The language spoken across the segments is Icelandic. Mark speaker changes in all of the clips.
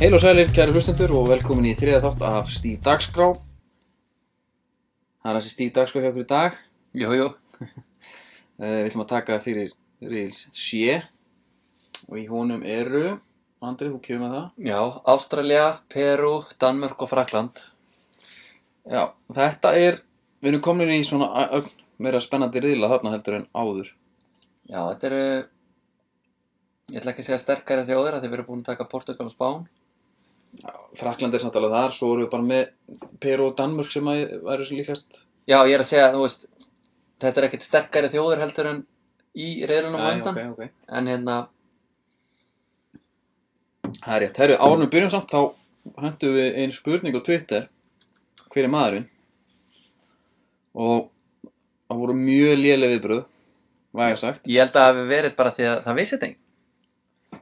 Speaker 1: Heil og sælir, kæri hlustendur og velkomin í þriða þátt af Stíf Dagskrá. Það er þessi Stíf Dagskrá hjá okkur í dag.
Speaker 2: Jú, jú,
Speaker 1: Eh, Við ætlum að taka fyrir Ríðils Sjö og í honum eru, Andri, þú kemur með það.
Speaker 2: já, Ástralja, Perú, Danmörk og Frakland.
Speaker 1: Já, þetta er, við erum komin í svona a- ögn meira spennandi riðla þarna heldur en áður.
Speaker 2: Já, þetta eru, ég ætla ekki að segja sterkari þjóðir að þið verið búin að taka Portugal og Spán.
Speaker 1: Frakland er samt alveg þar, svo erum við bara með Peru og Danmörk sem að væri svo líkast.
Speaker 2: Já, ég er að segja, þú veist, þetta eru ekkert sterkari þjóðir heldur en í reyðlunum á
Speaker 1: Æ,
Speaker 2: undan.
Speaker 1: ok, ok.
Speaker 2: En hérna,
Speaker 1: Það er rétt, herru, árunum byrjum samt, þá hentum við einu spurning á Twitter, hver er maðurinn? Og það voru mjög léleg viðbröð, vægar sagt.
Speaker 2: ég held að það hafi verið bara því að það vissi þetta enginn.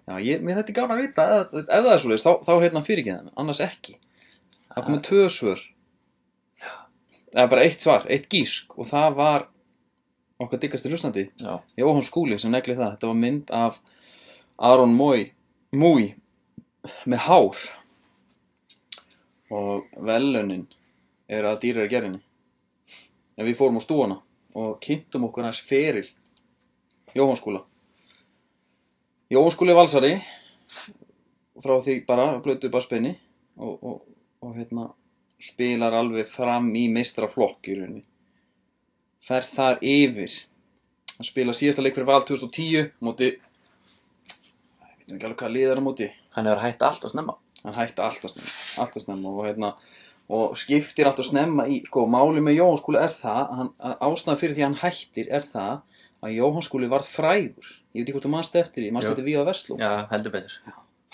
Speaker 1: Já, ég, mér þetta er gána að vita, ef, þú veist, ef það er svoleiðis, þá, þá hérna fyrir ekki þannig, annars ekki. Það komið tvö svör. Það er bara eitt svar, eitt gísk og það var okkar diggasti hlustandi,
Speaker 2: Já,
Speaker 1: Jóhann Skúli sem negli það. Þetta var mynd af Aron Mói, Mói með hár og velunin er að dýra er gerinni. En við fórum á stúana og kynntum okkur hans feril Jóhann Skúla. Jóhann Skúli er valsari frá því bara, blötu bara spenni og, og, og hérna spilar alveg fram í meistraflokk í rauninni. Fer þar yfir hann spila síðasta leik fyrir Val 2010 móti ég veit ekki alveg hvað liðar á móti
Speaker 2: hann hefur hætt allt og snemma.
Speaker 1: hann hætti alltaf snemma, alltaf snemma og, hérna, og skiptir alltaf snemma í sko, máli með Jóhann skúli er það að hann, að ástæðan fyrir því að hann hættir er það að Jóhann skúli varð frægur ég veit ekki hvort þú mannst eftir því, mannst
Speaker 2: Jú.
Speaker 1: eftir við á Vestló
Speaker 2: Já, heldur betur.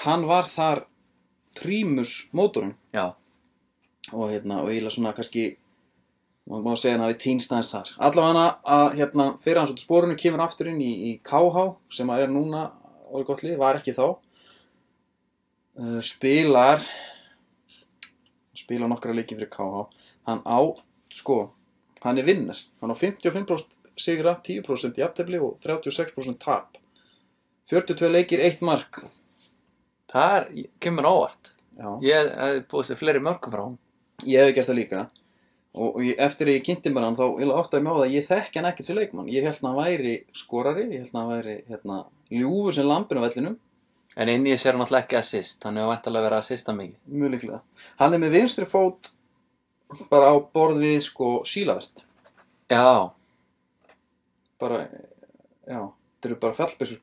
Speaker 1: hann var þar prímus mótorinn
Speaker 2: Já,
Speaker 1: og hérna, og eiginlega svona kannski maður má segja hann hafi týnst aðeins þar allavega að hérna, fyrir hans út úr spórinu kemur aftur inn í, í KH sem að er núna orðið gott lið, var ekki þá uh, spilar spilar nokkra leiki fyrir KH hann á, sko hann er vinnar, hann á 55% sigra, 10% í aftefli og 36% tap 42 leikir, 1 mark
Speaker 2: það er, kemur óvart.
Speaker 1: Já.
Speaker 2: Ég hef búið sér fleiri mörgum frá hún.
Speaker 1: ég hef gert það líka og, og ég, eftir að ég kynnti mér hann þá ég áttaði mig á það að ég þekki hann ekkert sem leikmann ég held að hann væri skorari ég held að hann væri hérna, ljúfur sem lampin á vellinum
Speaker 2: En inn í þessu er hann alltaf ekki assist, hann hefur vantilega verið að assista mikið.
Speaker 1: mjög líklega hann er með vinstri fót bara á borð við sko sílavert
Speaker 2: Já,
Speaker 1: bara, já, þetta eru bara fjallbessu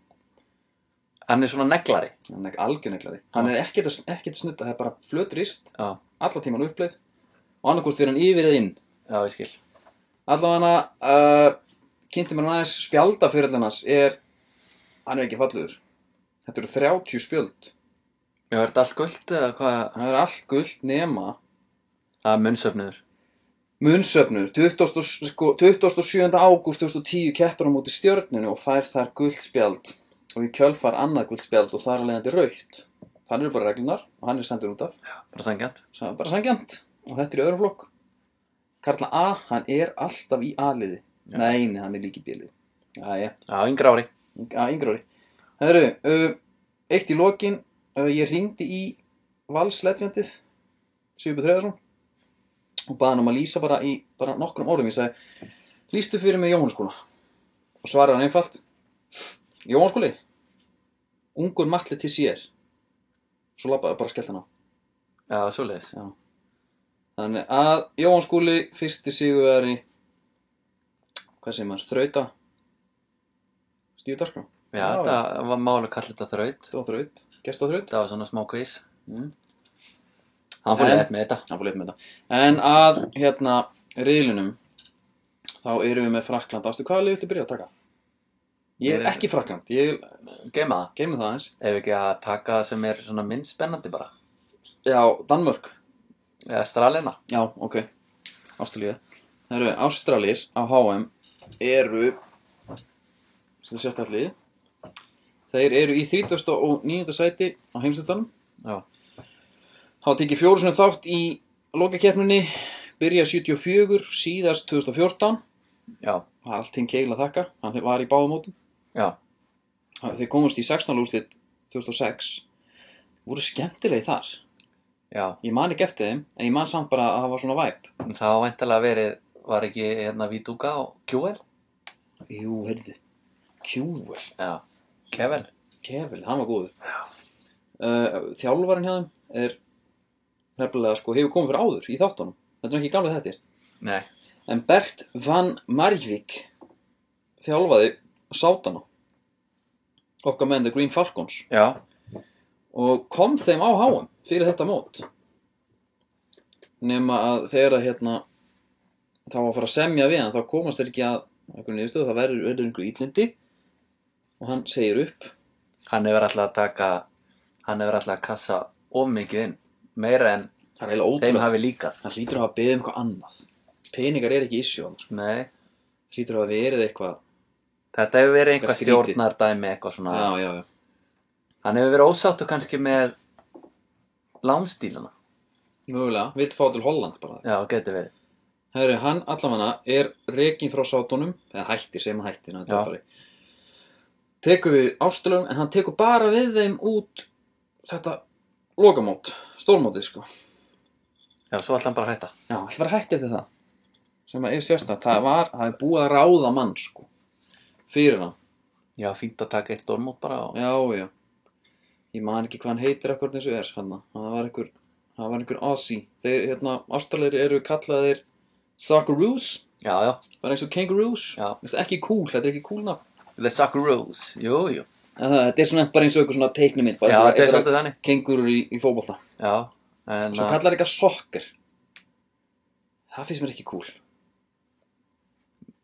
Speaker 2: hann er svona neglari.
Speaker 1: hann er ekki algjörneglari hann er ekkert, að- ekkert snutta, það er bara flötrist
Speaker 2: Já,
Speaker 1: alla tíman uppleið og annarkvort fyrir hann yfir eða inn
Speaker 2: já, ég skil.
Speaker 1: Allavega hana, uh, kynnti mér hann aðeins spjaldafyrirlinnans er, hann er ekki fallegur. Þetta eru 30 spjöld.
Speaker 2: Já, er þetta allt gullt eða hvað?
Speaker 1: Það er allt gullt nema
Speaker 2: Það er munnsöfniður.
Speaker 1: munnsöfnur. 20. Sko, 27. ágúst 2010 keppur hann múti stjörnunu og fær þar gullt spjald og í kjölfar annað gullt spjald og þar er leiðandi raukt. Þannig eru bara reglunar og hann er sendur út af.
Speaker 2: Bara sangjant.
Speaker 1: Það er bara sangjant og þetta er í öðrum flokk. Karla A, hann er alltaf í A-liði.
Speaker 2: Já.
Speaker 1: Nei, nei, hann er líki B-liði. Jæja.
Speaker 2: Já, yngra ári.
Speaker 1: Já, yngra ári. Herru, uh, eitt í lokin, uh, ég ringdi í Valslegendið, Sigurbjörn Þreðarsson, og baði hann um að lýsa bara í bara nokkrum orðum. Ég sagði, lýstu fyrir mig Jóhannsskóla. Og svaraði hann einfalt, Jóhannsskóli, ungur matli til sér. Svo labbaði bara skellt hann á.
Speaker 2: Já, svoleiðis.
Speaker 1: Þannig að Jóhannsskóli, fyrsti sigurveri, hvað segir maður, þrauta, stíðu dagskrá.
Speaker 2: Já,
Speaker 1: Já,
Speaker 2: þetta var málu kall þetta þraut.
Speaker 1: Þetta var þraut, gesta þraut.
Speaker 2: Þetta var svona smá Eh. kvís.
Speaker 1: Mm.
Speaker 2: Hann fór
Speaker 1: En-
Speaker 2: leitt með þetta.
Speaker 1: hann fór leitt með þetta en að hérna riðlunum þá erum við með Frakland ástu hvaða lið viltu byrja að taka? ég er
Speaker 2: Ég er-
Speaker 1: ekki Frakland ég
Speaker 2: Geima það.
Speaker 1: geymum það eins
Speaker 2: Ef ekki að taka það sem er svona minn spennandi bara.
Speaker 1: já, Danmörk
Speaker 2: Eða stralina.
Speaker 1: já, ok Ástralíu það eru Ástralir á HM eru sem það sést allir þeir eru í 39. sæti á heimsistanum
Speaker 2: Já.
Speaker 1: hafa tekið fjóru sinni þátt í lokakeppninni byrja 74 síðast 2014
Speaker 2: Já.
Speaker 1: Það er allting keil að þakka, hann var í báðum mótum.
Speaker 2: Já.
Speaker 1: Þeir komast í 16. úrslit 2006, voru skemmtilegi þar.
Speaker 2: Já,
Speaker 1: Ég man ekki eftir þeim, en ég man samt bara að það var svona væp.
Speaker 2: en það var væntalega verið, var ekki hérna Vítuga og QL?
Speaker 1: Jú, heyrðu, Kjúvel,
Speaker 2: Já, Kevin.
Speaker 1: Kefil, hann var góður. Uh, þjálfarinn hjá þeim er nefnilega, sko, hefur komið fyrir áður í þáttunum. Þetta er ekki gamlega þettir.
Speaker 2: Nei,
Speaker 1: En Bert van Marjvik þjálfaði sátana. Okkar menn The Green Falcons.
Speaker 2: já,
Speaker 1: og kom þeim á háum fyrir þetta mót nema að þegar að hérna þá var að fara að semja við hann þá komast þeir ekki að einhvern niðurstöðu það verður verður einhver ítlindi og hann segir upp
Speaker 2: hann hefur alltaf að taka, hann hefur alltaf að kassa of mikið inn, meira en
Speaker 1: hann er eiginlega
Speaker 2: þeim
Speaker 1: ótrúlega
Speaker 2: hafi líkað.
Speaker 1: hann hlýtur að hafa beðið um eitthvað annað peningar er ekki issue hann
Speaker 2: Nei,
Speaker 1: hlýtur að hafa verið eitthvað
Speaker 2: þetta hefur verið einhvað
Speaker 1: Eitthvað skrítið.
Speaker 2: stjórnardæmi, eitthvað svona.
Speaker 1: já já já
Speaker 2: Hann hefur verið ósáttu kannski með lánstíluna.
Speaker 1: mögulega vilt fá til Holland bara
Speaker 2: Já, getur verið.
Speaker 1: Herri, hann allavega er rekin frá sátunum, eða hættir, segjum hann hættir, hann
Speaker 2: Já.
Speaker 1: töffari. Tekur við ástölum, en hann tekur bara við þeim út þetta lokamót, stórmótið sko.
Speaker 2: Já, svo ætla hann bara að hætta.
Speaker 1: Já, hann var hætti eftir það. Sem að er sérstætt, það var, það er búið að ráða mann sko, fyrir hann.
Speaker 2: Já, fínt að taka eitt stórmót bara og...
Speaker 1: Já, já. Ég man ekki hvað hann heitir akkur eins og er, hann, það var einhver, það var einhver Aussie. Þeir, hérna, ástralir eru kallaðir Socceroos,
Speaker 2: Já, já.
Speaker 1: bara eins og Kangaroos.
Speaker 2: Já.
Speaker 1: Mér finnst Ekki cool, þetta er ekki cool nafn.
Speaker 2: The Socceroos, jú, jú.
Speaker 1: En það- Þetta er svona bara eins og eitthvað svona teiknumynd,
Speaker 2: Já,
Speaker 1: bara
Speaker 2: þetta er
Speaker 1: einhverja-
Speaker 2: svolítið þannig.
Speaker 1: einhverja kengurur í, í fótbolta.
Speaker 2: Já, en uh,
Speaker 1: Svo
Speaker 2: að-
Speaker 1: kallar eitthvað sokker. Það finnst mér ekki cool.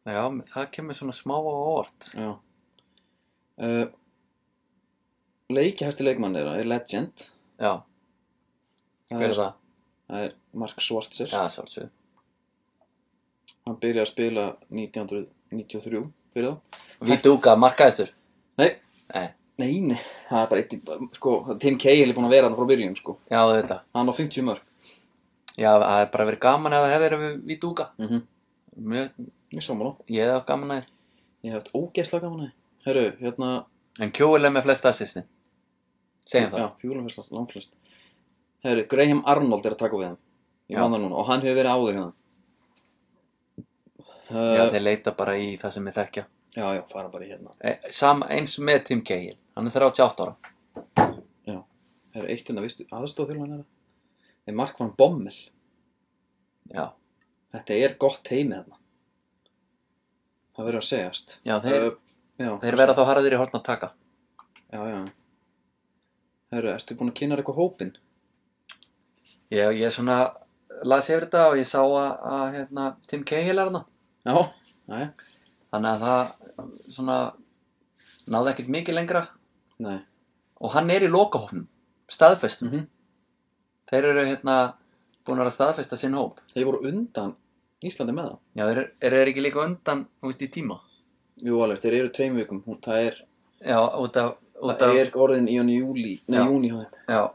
Speaker 2: já, það kemur svona smá á orð.
Speaker 1: Já. Uh, Leikihæsti leikmann þeirra er Legend.
Speaker 2: Já,
Speaker 1: Það
Speaker 2: hver er það?
Speaker 1: Það er Mark Schwarzer.
Speaker 2: Já, sjálfsög.
Speaker 1: Hann byrjaði að spila 1993 fyrir það.
Speaker 2: Vítúka, markaðistur.
Speaker 1: Nei.
Speaker 2: Nei.
Speaker 1: Nei, nei. Það er bara eitt, í- sko, Tim Cahill er búin að vera hann frá byrjun, sko.
Speaker 2: Já, þetta.
Speaker 1: Hann á 50 mörg.
Speaker 2: Já, það er bara verið gaman ef það hefur verið Vítúka.
Speaker 1: Mm -hmm.
Speaker 2: Mjög,
Speaker 1: Ég sammála.
Speaker 2: ég hef átt gaman að þið.
Speaker 1: Ég hef haft ógeðslega gaman að þið. Herru, hérna,
Speaker 2: En Kjúil er með flest assistin. Segjum það.
Speaker 1: Já, fjúlumfyrstast, langflest Herru, Graham Arnold er að taka við hann Ég
Speaker 2: Já.
Speaker 1: man það núna og hann hefur verið áður hérna
Speaker 2: Já,
Speaker 1: uh,
Speaker 2: þeir leita bara í það sem ég þekkja.
Speaker 1: já, já, fara bara í hérna
Speaker 2: E, sam, eins með Tim Cahill. Hann er 38 ára.
Speaker 1: Herru, eitt hérna, vistu, aðstof þjóðan er það er Mark van Bommel
Speaker 2: Já.
Speaker 1: Þetta er gott heimi þarna Það verður að segjast
Speaker 2: Já, þeir,
Speaker 1: uh, já,
Speaker 2: Eh, þeir verða þá harðir í horn að taka.
Speaker 1: Já, já Herru, ertu búin að kynna þér eitthvað hópinn?
Speaker 2: Já, ég svona las yfir þetta og ég sá að, að hérna, Tim Cahill er hana.
Speaker 1: Já, næja,
Speaker 2: Þannig að það svona náði ekkert mikið lengra
Speaker 1: nei
Speaker 2: og hann er í lokahófnum, staðfestum.
Speaker 1: Mhm.
Speaker 2: Þeir eru hérna búin að vera að staðfesta sinn hóp.
Speaker 1: Þeir voru undan Íslandi með það
Speaker 2: Já, þeir eru- eru þeir ekki líka undan, þú veist, í tíma.
Speaker 1: Jú, alveg, þeir eru tveim vikum, hún, það er
Speaker 2: Já, út af, út af,
Speaker 1: Það er sko- orðin í hann í júli, nei,
Speaker 2: Já.
Speaker 1: júni hjá þeim.
Speaker 2: já,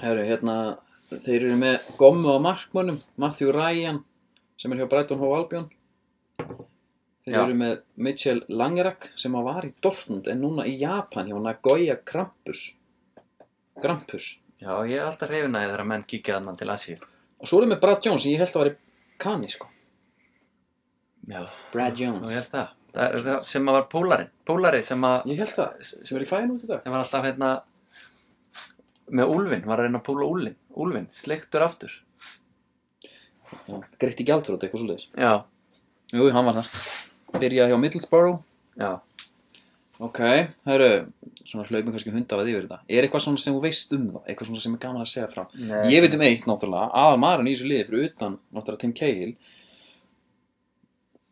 Speaker 1: Herru, hérna, þeir eru með gommu á markmönnum, Matthew Ryan, sem er hjá Brighton Hove Albion. Þeir
Speaker 2: Já.
Speaker 1: eru með Mitchell Langerak, sem að var í Dortmund, en núna í Japan hjá Nagoya Krampus. Krampus.
Speaker 2: já, ég er alltaf reyfinaði þegar að menn kíkja þarna til Asíu.
Speaker 1: Og svo eru með Brad Jones, sem ég held að væri kani, sko.
Speaker 2: Já,
Speaker 1: Brad
Speaker 2: og
Speaker 1: Jones.
Speaker 2: ég er það. Það er það sem að var pólari, pólari sem að
Speaker 1: Ég held það, sem er í fæin út í dag.
Speaker 2: Það var alltaf hérna með úlfin, var að reyna að púla úlfin, úlfin, sleiktur aftur.
Speaker 1: Já, Greitti Gjaldrót, eitthvað svoleiðis.
Speaker 2: Já,
Speaker 1: Jú, hann var það. Byrjaði hjá Middlesbrough.
Speaker 2: já.
Speaker 1: Ok, það eru svona hlaupin kannski hundafæði yfir þetta. Er eitthvað svona sem þú veist um það? Eitthvað svona sem er gaman að segja frá?
Speaker 2: Nei.
Speaker 1: Ég veit um eitt náttúrulega, aðal maðurinn í þessu liði fyrir utan náttúrulega Tim Cahill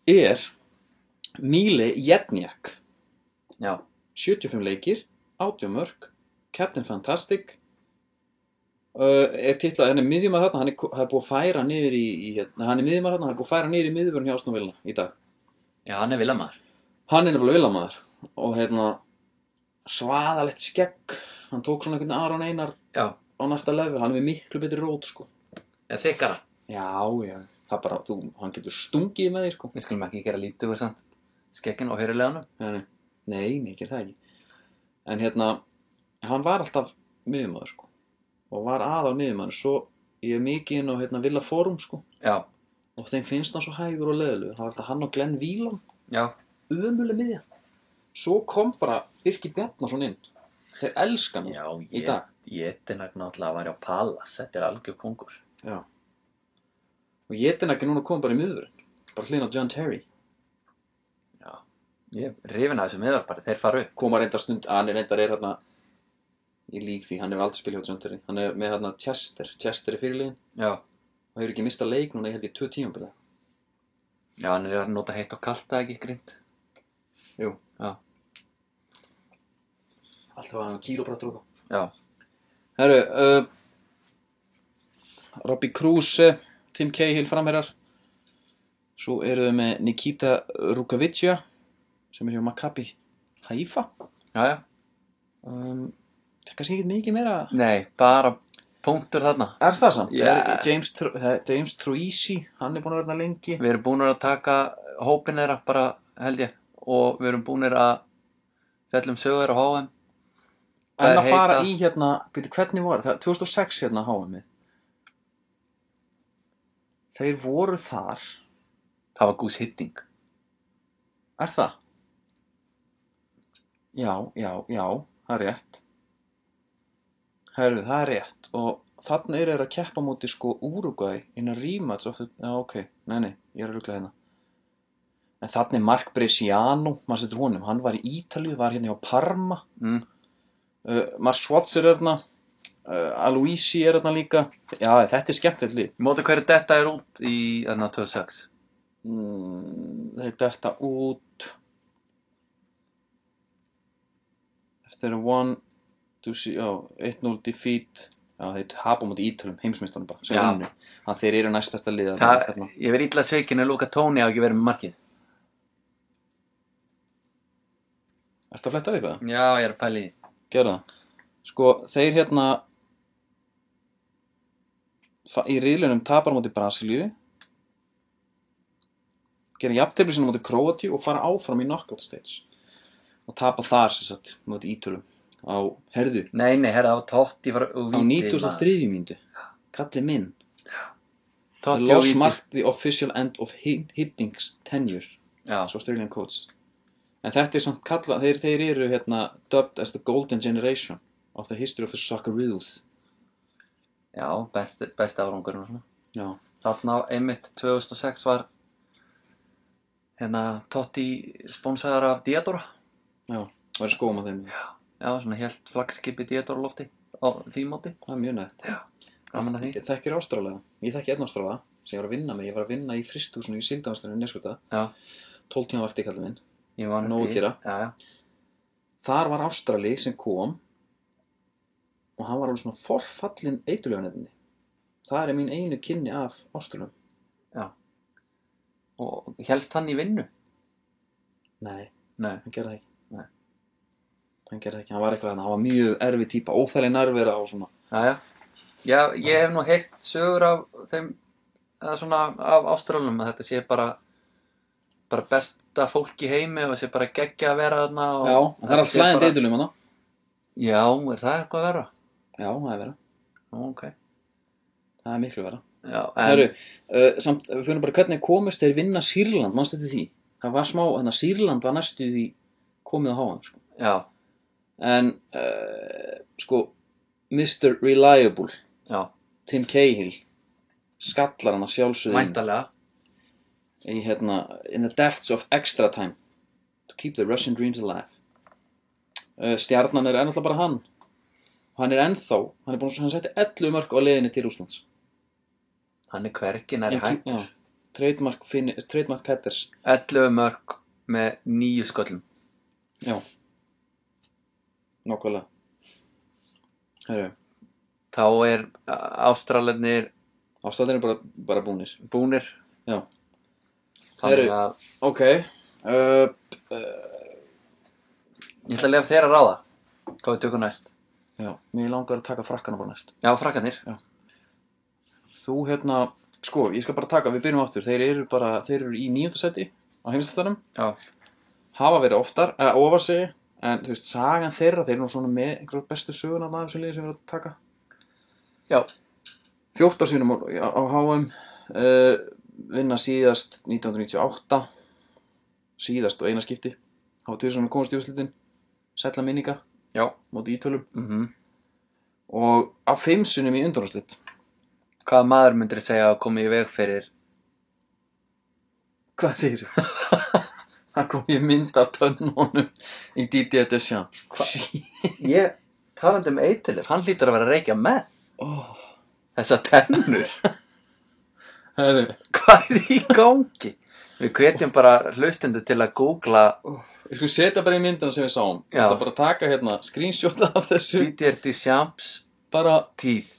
Speaker 1: er Míli Jedniak.
Speaker 2: Já,
Speaker 1: 75 leikir, 80 mörg, Captain Fantastic, uh, er titlað, hann er miðjumar þarna, hann er, hann er búið að færa niður í, í hérna, hann er miðjumar þarna, hann er búið að færa niður í miðjumvörn hjá Ásnúvilna í dag.
Speaker 2: já, hann er vilamaður.
Speaker 1: Hann er nefnilega vilamæður og hérna svaðalegt skegg, hann tók svona einhvern Aron Einar
Speaker 2: Já,
Speaker 1: á næsta level, hann er með miklu betri rót sko.
Speaker 2: eða þykkara.
Speaker 1: Já, já, það er bara, þú, hann getur stungið með því sko.
Speaker 2: Við skulum ekki gera lítið og samt skekkin og höyruleganum.
Speaker 1: Nei, nei, nei, ekki það ekki. En hérna, hann var alltaf miðjumæður sko og var aðal miðjumæður svo ég er mikið inn á hérna Villa Forum sko
Speaker 2: já,
Speaker 1: og þeim finnst hann svo hægur og leðilegur það var alltaf hann og Glenn Vílan
Speaker 2: já,
Speaker 1: ömuleg miðja svo kom bara Birki Bjarnason inn þeir elskan hann
Speaker 2: já,
Speaker 1: í dag
Speaker 2: Jetinak náttúrulega var á Palace, þetta er algjör kongur.
Speaker 1: Já. Og Jetin ekki núna kom bara í miðurinn. Bara hlýna á John Terry.
Speaker 2: Ég er hrifinn af þessu meðar bara, þeir fara upp.
Speaker 1: Koma reyndar stund, að hann er reyndar er hérna, ég lík því, hann hefur aldrei spilað hjá John Terry. Hann er með hérna Chester, Chester er fyrirliðin.
Speaker 2: Já,
Speaker 1: Og hefur ekki mistað leik núna, ég held ég, tvö tímabilið.
Speaker 2: já, hann er að nota heitt og kalt, það er ekki grínt.
Speaker 1: Jú.
Speaker 2: Já.
Speaker 1: Alltaf var hann kílóbrattur og það.
Speaker 2: Já,
Speaker 1: Herru, uh, Robbie Kruse, Tim Cahill framherjar. Svo eru þau með Nikita Rukavicja, sem er hjá Maccabi Haifa.
Speaker 2: já, já.
Speaker 1: Um, það er kannski ekkert mikið meira
Speaker 2: Nei, bara punktur þarna.
Speaker 1: Er það samt?
Speaker 2: Já.
Speaker 1: Er- James, Tr- það- James Troisi, hann er búin að vera þarna lengi
Speaker 2: Við erum búin að taka hópin þeirra bara, held ég, og við erum búin að fjallum sögur á HM.
Speaker 1: En
Speaker 2: Þær
Speaker 1: að fara
Speaker 2: heita-
Speaker 1: í hérna, byrju hvernig var það? 2006 hérna háum við Þeir voru þar
Speaker 2: Það var gús hitting.
Speaker 1: Er það? Já, já, já, það er rétt Herðu, það er rétt Og þarna eru þeir að keppa múti sko Úrugvæ innan rímats of the... Já, ok, nei, nei, ég er að rugla hérna En þarna er Mark Bresciano, maður setur honum, hann var í Ítalíu, var hérna hjá Parma
Speaker 2: Mm.
Speaker 1: uh, Mark Schwartz er þarna uh, Aloisi er þarna líka já þetta er skemmtilegt lið
Speaker 2: Í móti hverju detta er út í þarna 2006.
Speaker 1: mm, þeir detta út eftir að one to see, já, 1-0 defeat já þeir hapa múti ítölum heimsmyndstunum bara sem
Speaker 2: Já.
Speaker 1: unnu. að þeir eru næstasta lið
Speaker 2: Þa,
Speaker 1: þarna. þarna.
Speaker 2: ég verið illa sveikin að Luka Tóni á ekki verið með markið.
Speaker 1: ertu að fletta við það?
Speaker 2: Já, ég er að pæli.
Speaker 1: gera það sko þeir hérna fa- í riðlunum tapar á móti Brasilíu gera jafntefli sinna móti Króatíu og fara áfram í knockout stage og tapa þar sem sagt móti Ítölum á herðu
Speaker 2: Nei, nei, herra, á Totti var og
Speaker 1: á 93. mínútu kallið minn The
Speaker 2: Totti og
Speaker 1: loss
Speaker 2: Víti.
Speaker 1: marked the official end of hi- Hiddings tenure
Speaker 2: Já,
Speaker 1: as Australian coach en þetta er samt kallað þeir, þeir eru hérna dubbed as the golden generation of the history of the Socceroos
Speaker 2: já best, best árangurinn og svona.
Speaker 1: já
Speaker 2: Þarna á einmitt 2006 var hérna Totti sponsaðar af Diadora.
Speaker 1: Já, var í skóum á þeim.
Speaker 2: Já, svona helt flagskipi Diadora lofti á því móti.
Speaker 1: Það er mjög nætt.
Speaker 2: Gaman að því.
Speaker 1: Ég þekkir ástrálega. Ég þekki einn ástrálega sem ég var að vinna með. Ég var að vinna í fristúsinu í Sildavanslunum í Nesvita.
Speaker 2: Já,
Speaker 1: 12 tíma vakti kallið minn.
Speaker 2: ég var
Speaker 1: Nóg að gera.
Speaker 2: Já, já.
Speaker 1: Þar var ástrali sem kom og hann var alveg svona forfallin eituleganetinni. Það er mín einu kynni af ástralum.
Speaker 2: Og helst hann í vinnu?
Speaker 1: Nei,
Speaker 2: Nei.
Speaker 1: hann gerði það ekki.
Speaker 2: Nei.
Speaker 1: Hann gerði það ekki. Hann var eitthvað þannig. Hann var mjög erfið típa, óþægli nærvera og svona.
Speaker 2: Já, já. Já, ég hef nú heyrt sögur af þeim, eða svona af ástralunum að þetta sé bara, bara besta fólk í heimi og sé bara geggja að vera þarna og...
Speaker 1: Já, það er allt
Speaker 2: sé
Speaker 1: hlæðandi
Speaker 2: bara-
Speaker 1: eitulum hann.
Speaker 2: Já, er það eitthvað að vera?
Speaker 1: Já, það er vera.
Speaker 2: Nú, ok.
Speaker 1: Það er miklu vera.
Speaker 2: Já, en...
Speaker 1: Herru, uh, samt, við finnum bara hvernig komist þeir vinna Sýrland, mannst þetta því? Það var smá, þannig að Sýrland var næstu því komið á háan, sko.
Speaker 2: Já,
Speaker 1: En, uh, sko, Mr. Reliable,
Speaker 2: já,
Speaker 1: Tim Cahill, skallar hann að sjálfsögðu inn
Speaker 2: væntalega.
Speaker 1: í, hérna, in the depths of extra time to keep the Russian dreams alive. Uh, stjarnan er ennallega bara hann. Og Hann er ennþá, hann er búin að hann setja 11 mörg á leiðinni til Úslands.
Speaker 2: Hann er hvergi nær hægt.
Speaker 1: Já, trademark, Finn- trademark Petters.
Speaker 2: 11 mörg með nýju sköllum.
Speaker 1: Já Nákvæmlega Herru,
Speaker 2: Þá er ástralarnir
Speaker 1: ástæðin er bara, bara búnir
Speaker 2: búnir.
Speaker 1: Já.
Speaker 2: Þannig
Speaker 1: Herru.
Speaker 2: að
Speaker 1: Ok uh,
Speaker 2: ég ætla að lefa þér að ráða. Hvað við tökum næst?
Speaker 1: Já, mér langar að taka frakkana bara næst
Speaker 2: Já, frakkanir.
Speaker 1: Þú hérna, sko, ég skal bara taka, við byrjum aftur Þeir eru bara, þeir eru í nýjönda seti á heimstæðanum
Speaker 2: Já.
Speaker 1: Hafa verið oftar, eða ofar segi en þú veist, sagan þeirra, þeir eru nú svona með einhverjar bestu söguna af þessu liði sem við erum að taka
Speaker 2: Já,
Speaker 1: 14 sinum á, á HM uh, vinna síðast 1998 síðast og eina skipti hafa tvisvar svona komast í úrslitin sætla minninga
Speaker 2: já,
Speaker 1: móti ítölum
Speaker 2: mhm
Speaker 1: og af fimm sinum í undanúrslit
Speaker 2: Hvaða maður myndir segja að komi í veg fyrir
Speaker 1: hvað segir þú? það kom ég mynd af tönnunum í Didi Deschamps
Speaker 2: Ég talandi um eitilir Hann hlýtur að vera að reykja með
Speaker 1: oh,
Speaker 2: Þessa tennur
Speaker 1: herri,
Speaker 2: Hvað er í gangi? Við kvetjum bara hlustendur til að googla
Speaker 1: ég sko setja bara í myndina sem við sáum ég
Speaker 2: Já.
Speaker 1: ætla bara að taka hérna screenshot af þessu
Speaker 2: Didier Deschamps
Speaker 1: bara
Speaker 2: tíð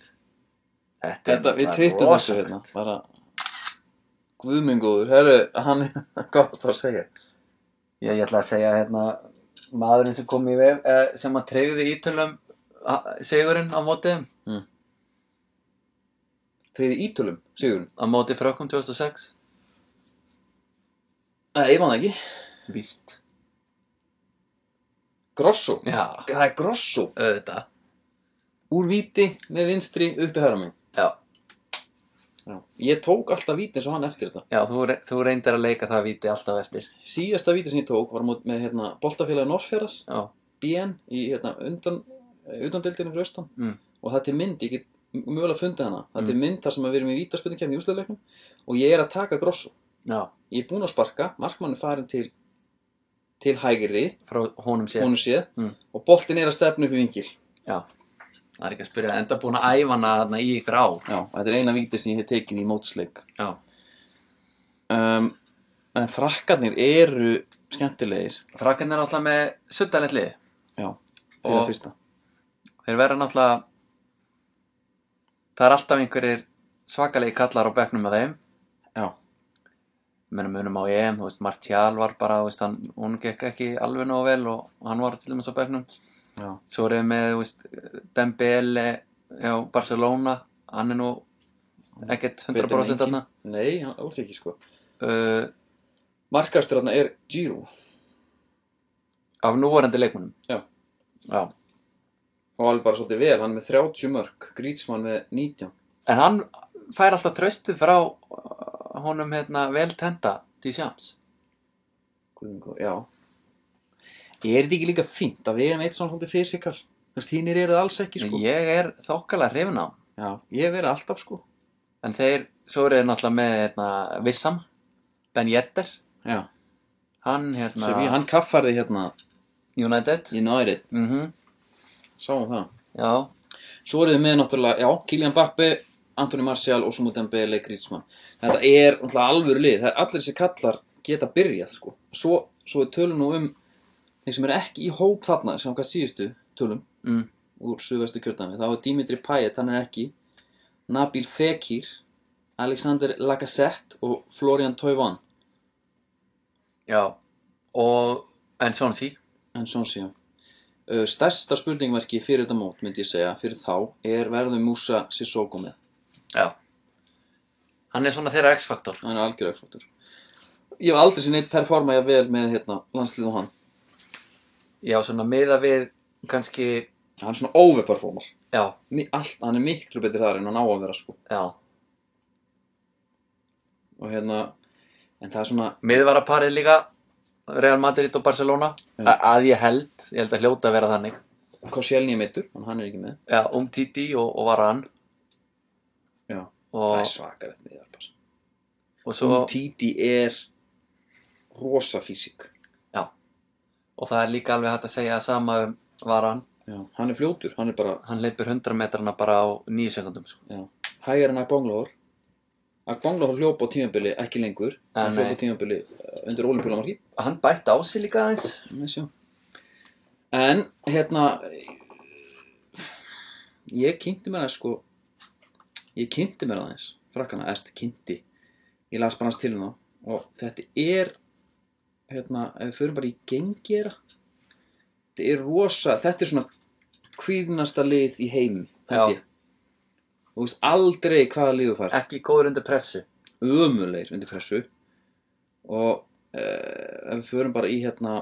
Speaker 2: Þetta,
Speaker 1: Þetta, við
Speaker 2: náttúrulega
Speaker 1: tvittum þessu hérna,
Speaker 2: rosalegt.
Speaker 1: bara Guðmengóður, herru, hann hvað varst það að segja?
Speaker 2: Já, ég ætla að segja hérna maðurinn sem kom í veg eh, sem að treyði ítölum a- sigurinn á móti þeim,
Speaker 1: Þegar ítölum, Sigurinn?
Speaker 2: á móti frökkum 2006
Speaker 1: Nei, ég man það ekki
Speaker 2: Víst
Speaker 1: Grosso,
Speaker 2: Já,
Speaker 1: það er Grosso
Speaker 2: auðvitað
Speaker 1: Úr víti, með vinstri, uppi hæra mig
Speaker 2: Já,
Speaker 1: Já. Ég tók alltaf víti eins og hann eftir þetta
Speaker 2: já þú, re- þú reyndir að leika það víti alltaf eftir
Speaker 1: Síðasta víti sem ég tók var á mót- með hérna, boltafélagi Norrferðar
Speaker 2: Já,
Speaker 1: BN í hérna, undan, undandeildinu fyrir austan
Speaker 2: Mm.
Speaker 1: og það er til mynd, ég get mögulega fundið hana það er til
Speaker 2: Mm.
Speaker 1: mynd þar sem að við erum í vítaspöndingkefni í úsleifleiknum og ég er að taka Grosso
Speaker 2: já,
Speaker 1: ég er búinn að sparka, markmann er farin til til hægri,
Speaker 2: frá honum sér
Speaker 1: honum séð
Speaker 2: Mm.
Speaker 1: og boltinn er að stefna upp í vingil
Speaker 2: Já, það er ekki að spyrja enda búin að æfa hana þarna í ykkur ár
Speaker 1: já, þetta er eina víti sem ég hef tekið í mótsleik
Speaker 2: Já,
Speaker 1: um, en frakkarnir eru skemmtilegir
Speaker 2: frakkan er náttúrulega með suddanett lið
Speaker 1: já, fyrir
Speaker 2: Og-
Speaker 1: það fyrsta
Speaker 2: Þeir verða náttúrulega Það er alltaf einhverjir svakalegi kallar á bekknum með þeim
Speaker 1: já,
Speaker 2: Menum munum á EM, þú veist, Martial var bara, þú veist, hann, hún gekk ekki alveg nógu vel og hann var til dæmis á bekknum
Speaker 1: já,
Speaker 2: Svo er ég með, þú veist, Dembele á Barcelona, hann er nú ekkert
Speaker 1: Betur en
Speaker 2: 100%
Speaker 1: um enginn.
Speaker 2: þarna
Speaker 1: nei, alls ekki sko
Speaker 2: uh,
Speaker 1: markastur þarna er Giro
Speaker 2: Af núvarandi leikmunum
Speaker 1: Já.
Speaker 2: Já.
Speaker 1: og alveg bara svolítið vel, hann er með 30 mörg Grítsmann með 19
Speaker 2: En hann fær alltaf tröstið frá uh, honum hérna vel tenda Dísjáms.
Speaker 1: Guð minn góður, já er þetta ekki líka fínt að við erum eitt svona svolítið fysikal þú veist, hínir eru það alls ekki sko
Speaker 2: Ég er þokkalega hrifin á. hann.
Speaker 1: já, ég hef verið alltaf sko
Speaker 2: En þeir, svo eru þeir náttúrulega með hérna Vissam, Ben Yedder,
Speaker 1: já
Speaker 2: hann hérna
Speaker 1: Sevilla, hann kaffarði hérna
Speaker 2: United.
Speaker 1: United,
Speaker 2: Mhm,
Speaker 1: sáum það
Speaker 2: Já,
Speaker 1: Svo eru þið með náttúrulega, já, Kylian Bappe Antoni Martial, Osmo Dembele, Griezmann Þetta er náttúrulega alvöru lið það er allir þessi kallar geta byrjað sko. svo, svo við tölum nú um þeir sem eru ekki í hóp þarna sem hvað síðustu tölum
Speaker 2: mm,
Speaker 1: úr suðvestu kjördæmi, þá er Dimitri Payet hann er ekki, Nabil Fekir Alexander Lacazette og Florian Tauvan
Speaker 2: já. Og, en svona sí.
Speaker 1: En svo síðan. Uh, Stærsta spurningverki fyrir þetta mót, myndi ég segja, fyrir þá, er verður Musa Sissoko með.
Speaker 2: Já. Hann er svona þeirra X-faktor.
Speaker 1: Hann er algjör auksfóttur. Ég hef aldrei sér neitt performa ég vel með hérna, landslið og hann.
Speaker 2: Já, svona miða við kannski,
Speaker 1: Hann er svona overperformer.
Speaker 2: já,
Speaker 1: Mi- Allt, hann er miklu betur þar en hann á að vera, sko.
Speaker 2: já.
Speaker 1: Og hérna, en það er svona,
Speaker 2: Miðvaraparið líka, Real Madrid og Barcelona,
Speaker 1: Já.
Speaker 2: A- að ég held, ég held að hljóta að vera þannig.
Speaker 1: Koscielny er meittur, en hann er ekki með.
Speaker 2: Já, um Titi og, og Varan
Speaker 1: Já, það
Speaker 2: og,
Speaker 1: er svakarett með þar bara. Svo...
Speaker 2: og, svo,
Speaker 1: Titi er rosa físík.
Speaker 2: og það er líka alveg hægt að segja sama um Varan
Speaker 1: Já, hann er fljótur, hann er bara
Speaker 2: hann leipur 100 metrana bara á 9 sekundum sko.
Speaker 1: Já, hægar en Agbonglahor Agbonglahor hljópa á tímabili ekki lengur
Speaker 2: Ah,
Speaker 1: hann hljópa
Speaker 2: nei.
Speaker 1: á tímabili uh, undir ólipulamarki
Speaker 2: hann bætti á sig líka aðeins
Speaker 1: en hérna ég kynnti mér það sko ég kynnti mér aðeins frakkana, erst kynnti ég las bara hans til um það og þetta er hérna, ef við förum bara í gengjera þetta er rosa þetta er svona kvíðnasta lið í heimi
Speaker 2: Já.
Speaker 1: held ég og þú veist aldrei hvaða lið þú fær
Speaker 2: ekki góður undir pressu
Speaker 1: ömulegir undir pressu eh, og uh, ef við förum bara í hérna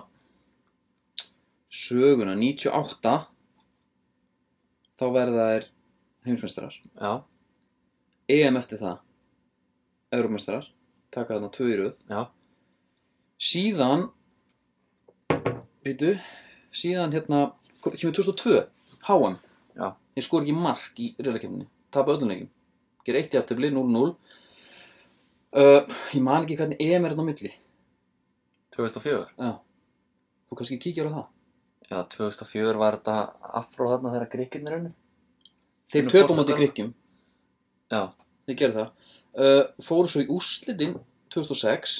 Speaker 1: söguna 98 þá verða þær heimsmeistarar
Speaker 2: já,
Speaker 1: EM eftir það Eurómeistarar taka þarna tvö í röð
Speaker 2: já,
Speaker 1: síðan býtu síðan hérna kemur 2002 HM
Speaker 2: Já.
Speaker 1: ég skor ekki mark í reyðarkefninni tapa öllum leikum ger eitt í aftöfli 0-0 uh, ég man ekki hvernig EM er þetta á milli
Speaker 2: 2004
Speaker 1: Já. þú kannski kíkjar á það
Speaker 2: já, 2004 var þetta afró þarna þegar grikkinn er unni
Speaker 1: þeir
Speaker 2: Finnur
Speaker 1: töpum á móti
Speaker 2: Portúgal.
Speaker 1: Grikkjum
Speaker 2: já,
Speaker 1: þeir gerðu það uh, fóru svo í úrslitin 2006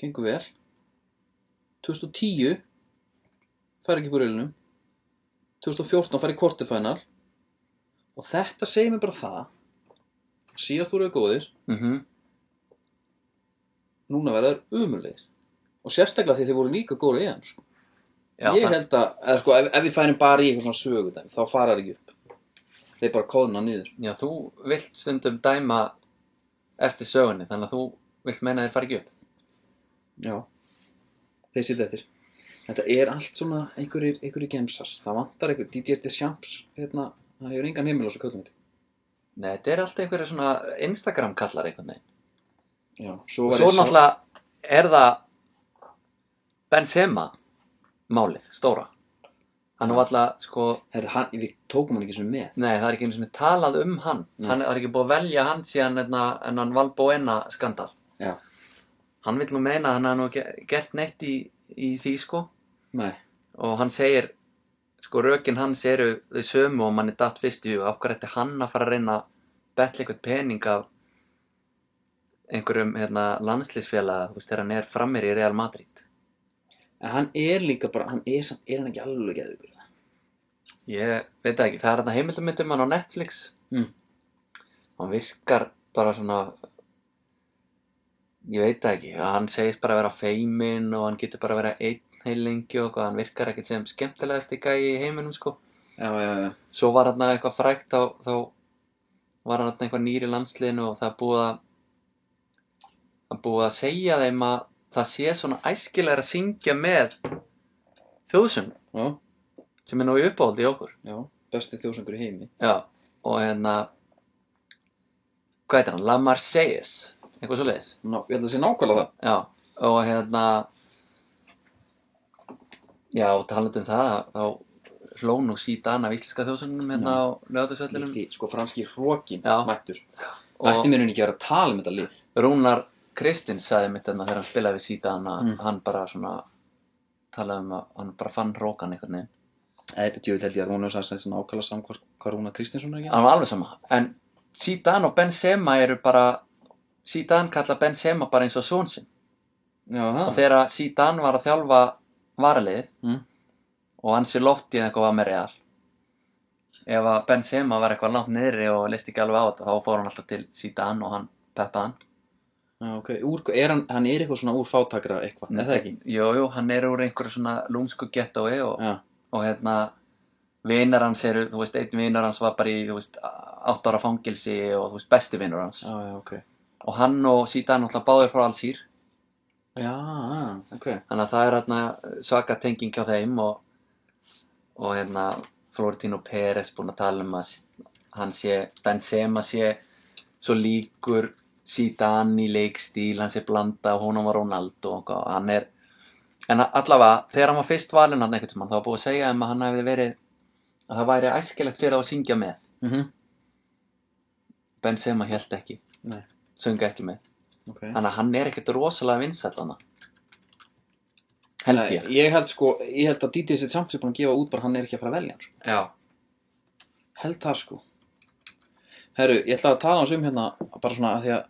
Speaker 1: gengur vel 2010 fær ekki úr reilunum 2014 fær í kvortifænar og þetta segir mér bara það síðast voru þau góðir
Speaker 2: mhm,
Speaker 1: núna verða þær umulegir og sérstaklega því þeir voru líka góður í EM sko.
Speaker 2: já,
Speaker 1: ég
Speaker 2: þann-
Speaker 1: held að, eða, sko, ef, ef við færum bara í eitthvað svona sögudæmi þá fara þær ekki upp þeir bara kóðna niður
Speaker 2: já, þú vilt stundum dæma eftir sögunni, þannig að þú vilt meina að þér fari ekki upp
Speaker 1: Já, þeir sitja eftir. Þetta er allt svona einhverjir, einhverjir gemsar. Það vantar einhver DDS Deschamps, hérna, hann hefur engan heimil á þessu köllum þetta.
Speaker 2: Nei, þetta er alltaf einhverja svona Instagram kallar einhvern veginn.
Speaker 1: Já, svo
Speaker 2: Og
Speaker 1: var
Speaker 2: svo
Speaker 1: ég
Speaker 2: náttúrulega er það Benzema málið, stóra. Hann var alltaf, sko,
Speaker 1: Herra, hann, við tókum hann ekki sem með.
Speaker 2: nei, það er ekki einu sem er talað um hann.
Speaker 1: Nei.
Speaker 2: Hann það er ekki búið að velja hann síðan enna, en hann Valboena skandal.
Speaker 1: Já.
Speaker 2: Hann vill nú meina að hann hafa nú ge- gert neitt í, í því, sko.
Speaker 1: Nei,
Speaker 2: og hann segir sko rökin hans eru þau sömu og mann er datt fyrst í huga, af hverju ætti hann að fara að reyna að betla eitthvað pening af einhverjum hérna, landslýsfélaga, þú veist, þegar hann er frammir í Real Madrid.
Speaker 1: en hann er líka bara, hann er samt, er hann ekki alveg geður ykkur það?
Speaker 2: Ég veit það ekki, það er þetta heimildamöndum hann á Netflix
Speaker 1: Mm.
Speaker 2: hann virkar bara svona ég veit það ekki, hann segist bara að vera feimin og hann getur bara að vera einn heil lengi og eitthvað, hann virkar ekkert sem skemmtilegast í gæi í heiminum sko
Speaker 1: Já, já, já.
Speaker 2: svo var hann eitthvað frækt á, þá var hann eitthvað nýri landsliðinu og það er búið að það er búið að segja þeim að það sé svona æskilega að syngja með þjóðsum
Speaker 1: Já,
Speaker 2: sem er nú í uppáhaldi í okkur
Speaker 1: já, besti þjóðsangur í heimi.
Speaker 2: já, og hérna hvað heitir hann? La Marseillaise eitthvað svo leiðis
Speaker 1: Ná, ég held að það sé nákvæmlega það.
Speaker 2: já, og hérna já, og talandi um það þá hló nú síðan af íslenska þjóðsunum hérna á lögðarsvöllinum
Speaker 1: Lítið, sko, franski hrókin
Speaker 2: Já.
Speaker 1: mættur.
Speaker 2: og-
Speaker 1: Ætti mér hún ekki að vera að tala um þetta lið.
Speaker 2: Rúnar Kristins sagði mitt þarna þegar hann spilaði við síðan að
Speaker 1: Mm.
Speaker 2: hann bara svona talaði um að hann bara fann rókan einhvern veginn.
Speaker 1: Eða, Eh, djöfull held ég að Rúnar Sarsæðs nákvæmlega saman hvað, hvað Rúnar Kristinsson er að gera.
Speaker 2: Hann var alveg sama. En síðan og Benzema eru bara, síðan kalla Benzema bara eins og són sinn.
Speaker 1: Já,
Speaker 2: Og
Speaker 1: það.
Speaker 2: þegar síðan var að þjálfa varaliðið
Speaker 1: Mm.
Speaker 2: og hann sé loftið eitthvað var með real. Ef að Benzema var eitthvað langt niðri og leist ekki alveg á þetta þá fór hann alltaf til síðan og hann peppaði hann.
Speaker 1: Já, Ah, ok. Úr, er hann, hann er eitthvað svona úr fátakra eitthvað, er það ekki?
Speaker 2: Jú, jú, hann er úr einhverju svona lúmsku gettói og,
Speaker 1: Já,
Speaker 2: og hérna vinar hans eru, þú veist, einn vinar hans var bara í, þú veist, átt ára fangilsi og þú veist, besti vinar hans
Speaker 1: já, já, ok.
Speaker 2: og hann og síðan náttúrulega báðir frá allsýr
Speaker 1: Já, já, ok.
Speaker 2: þannig að það er hérna svaka tenging hjá þeim og, og hérna Florentino Pérez búinn að tala um að hann sé, Benzema sé svo líkur síðan í leikstíl, hann sé blanda og hún var Ronaldo og eitthvað, hann er en allavega, þegar hann var fyrst valinn hann einhvern tímann, þá var búið að segja um að hann hefði verið að það væri æskilegt fyrir þá að syngja með
Speaker 1: Mm
Speaker 2: Benzema held ekki,
Speaker 1: Nei,
Speaker 2: söngu ekki með
Speaker 1: ok.
Speaker 2: þannig að hann er ekkert rosalega vinsallana held ég
Speaker 1: Nei, ég held sko, ég held að DT sitt samt sem búin að gefa út bara hann er ekki að fara að velja hann, sko.
Speaker 2: já,
Speaker 1: Held það, sko. Herru, ég ætla að tala hans um hérna, bara svona að því að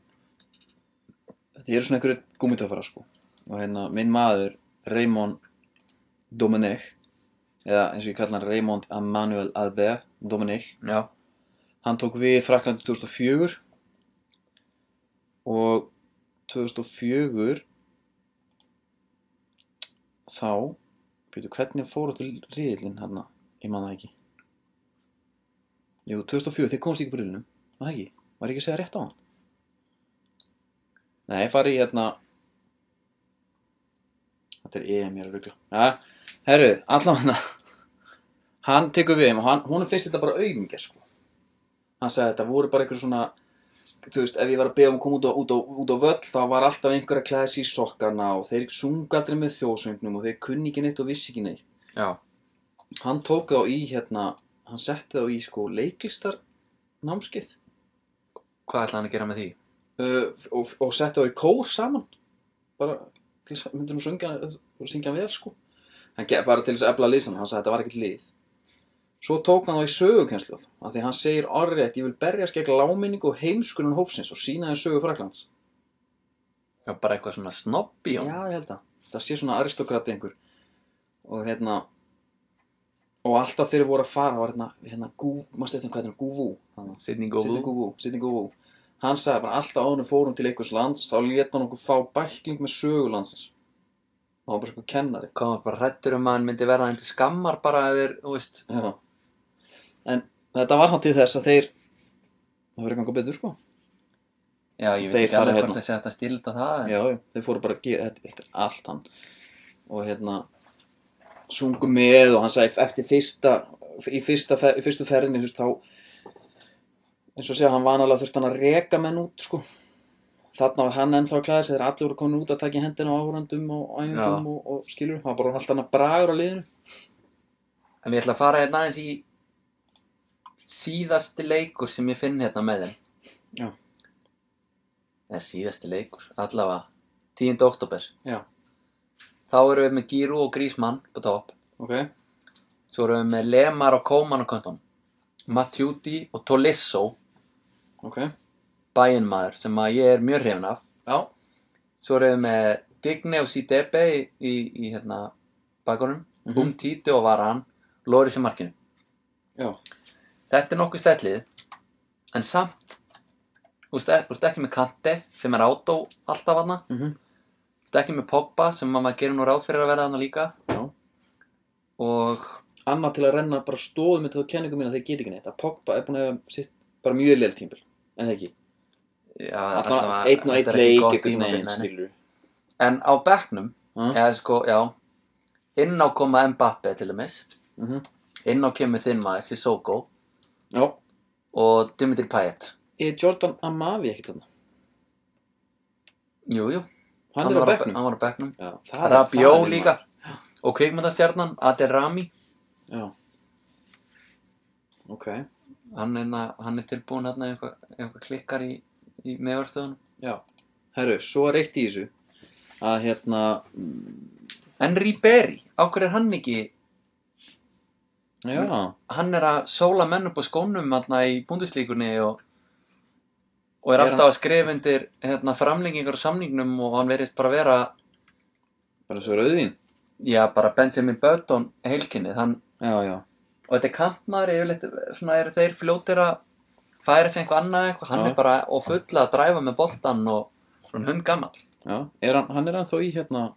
Speaker 1: þetta eru svona einhverju gúmitöfara, sko. Og hérna, minn maður, Raymond Domenech, eða eins og ég kalla hann Raymond Emmanuel Albert Domenech,
Speaker 2: já,
Speaker 1: Hann tók við Fraklandi 2004 og 2004 þá byrju, hvernig fór áttu riðilinn hérna, ég man það ekki Jú, 2004, þeir komst ekki úr riðlinum, var það ekki? Var ég ekki að segja rétt á hann? Nei, ég fari í hérna Þetta er EM, ég er að rugla ja, Herru, allavega hann tekur við þeim og hann, hún finnst þetta bara aumingja sko. Hann sagði þetta voru bara einhver svona þú veist, ef ég var að beða um að koma út á, út á, út á völl þá var alltaf einhver að klæða sér í sokkana og þeir sungu aldrei með þjóðsöngnum og þeir kunni ekki neitt og vissi ekki neitt.
Speaker 2: Já,
Speaker 1: Hann tók þá í hérna, hann setti þá í sko leiklistar námskeið
Speaker 2: hvað ætla hann að gera með því?
Speaker 1: uh, og, og setti þá í kór saman bara til þess að myndir hún syngja, syngja vel sko hann gef bara til þess að ebla liðsan hann sagði þetta var ekkert lið svo tók hann þá í sögukenslu af því hann segir orðrétt ég vil berjast gegn láminningu og heimskunum hópsins og sína þeim sögu Fraklands
Speaker 2: Já, bara eitthvað svona snobbi
Speaker 1: já ég held að það sé svona aristokrati einhver og hérna og alltaf þeir voru að fara var hérna, hérna gúf, maður stættum hvað hérna gúfú hann
Speaker 2: Sidney Govil
Speaker 1: Sidney Govou, Sidney Govou. Hann sagði bara alltaf áður en við fórum til einhvers lands, þá leta hann okkur fá bækling með sögulandsins. Það var bara svona kennari.
Speaker 2: Koma bara hrættur um að hann myndi verða hann til skammar bara að þeir, þú veist
Speaker 1: Já. En þetta var hann til þess að þeir, það verið ganga betur sko.
Speaker 2: Já, ég
Speaker 1: Þeir
Speaker 2: veit ekki
Speaker 1: fara
Speaker 2: alveg
Speaker 1: hérna.
Speaker 2: hvort það sé hægt að stilda það en...
Speaker 1: Já, já, þeir fóru bara að gera þetta, þetta er allt hann. Og hérna, sungu með og hann sagði eftir fyrsta, í, fyrsta fer, í fyrstu ferðinni, þú veist, þá, eins og segja, hann vanalega þurfti hann að reka menn út, sko. Þarna var hann ennþá að klæða sig þegar allir voru komin út að taka í hendina á áhverjandum og æfingum
Speaker 2: Já.
Speaker 1: og, og skilur. Það var bara alltaf hann að bragur á liðinu.
Speaker 2: en ég ætla að fara hérna aðeins í síðasti leikur sem ég finn hérna með þeim
Speaker 1: Já.
Speaker 2: Eða síðasti leikur, allavega 10. oktober
Speaker 1: Já,
Speaker 2: Þá erum við með Gíru og Grísmann på topp
Speaker 1: ok.
Speaker 2: Svo erum við með Lemar og Kóman á kontum Matjúti og Tolisso
Speaker 1: Ok.
Speaker 2: bæinmaður sem að ég er mjög hrifin af
Speaker 1: Já.
Speaker 2: Svo erum við með Digne og Sidebe í, í, í hérna bakunum mm
Speaker 1: Mhm.
Speaker 2: -hmm. Um Tito og Varan Loris í markinu
Speaker 1: Já.
Speaker 2: Þetta er nokkuð stællið En samt Þú veist þú ert ekki með Kante sem er átó alltaf hana
Speaker 1: Mm
Speaker 2: Þú ert ekki með Pogba sem að maður gerir nú ráð fyrir að verða hana líka
Speaker 1: Já.
Speaker 2: Og
Speaker 1: Annað til að renna bara stóðum með þú kenningu mín að þeir geta ekki neitt. Að Pogba er búin að hafa sitt bara mjög leil tímbil. En það ekki.
Speaker 2: já,
Speaker 1: Alltaf
Speaker 2: allavega,
Speaker 1: einn og einn
Speaker 2: þetta er ekki
Speaker 1: leik,
Speaker 2: gott
Speaker 1: einhvern
Speaker 2: tímabil,
Speaker 1: veginn,
Speaker 2: nei, nei.
Speaker 1: skilur
Speaker 2: En á bekknum
Speaker 1: Mm.
Speaker 2: eða sko, já Inn á koma Mbappe til dæmis
Speaker 1: Mhm.
Speaker 2: Inn á kemur þinn maður, Sissoko
Speaker 1: Já,
Speaker 2: Og Dimitri Payet
Speaker 1: er Jordan Amavi ekkert þarna?
Speaker 2: Jú, jú,
Speaker 1: Hann, er á
Speaker 2: var
Speaker 1: bekknum.
Speaker 2: hann var á bekknum
Speaker 1: Já, það er- það
Speaker 2: Rabió
Speaker 1: er
Speaker 2: líka Og kvikmyndastjarnan, Adel Rami
Speaker 1: maður. Já. Ok,
Speaker 2: hann er, na- hann er tilbúin hérna í eitthvað, eitthvað klikkar í, í meðvarstöðunum
Speaker 1: já. Herru, svo er eitt í þessu að hérna, mm,
Speaker 2: en Ribery, á hverju er hann ekki
Speaker 1: já,
Speaker 2: hann er að sóla menn upp á skónum hérna í búndislíkunni og,
Speaker 1: Er
Speaker 2: og er
Speaker 1: hann-
Speaker 2: alltaf að skrifa undir hérna, framlengingar og samningnum og hann verðist bara vera
Speaker 1: bara svo rauðin.
Speaker 2: já, bara Benjamin Button heilkinnið, hann
Speaker 1: Já, já,
Speaker 2: og þetta er kantmaður yfirleitt svona eru þeir fljótir að færa sig einhvað annað eitthvað, hann
Speaker 1: Já.
Speaker 2: er bara og fulla að dræfa með boltan og svona hund gammal
Speaker 1: já. Er hann, hann er hann þó í hérna,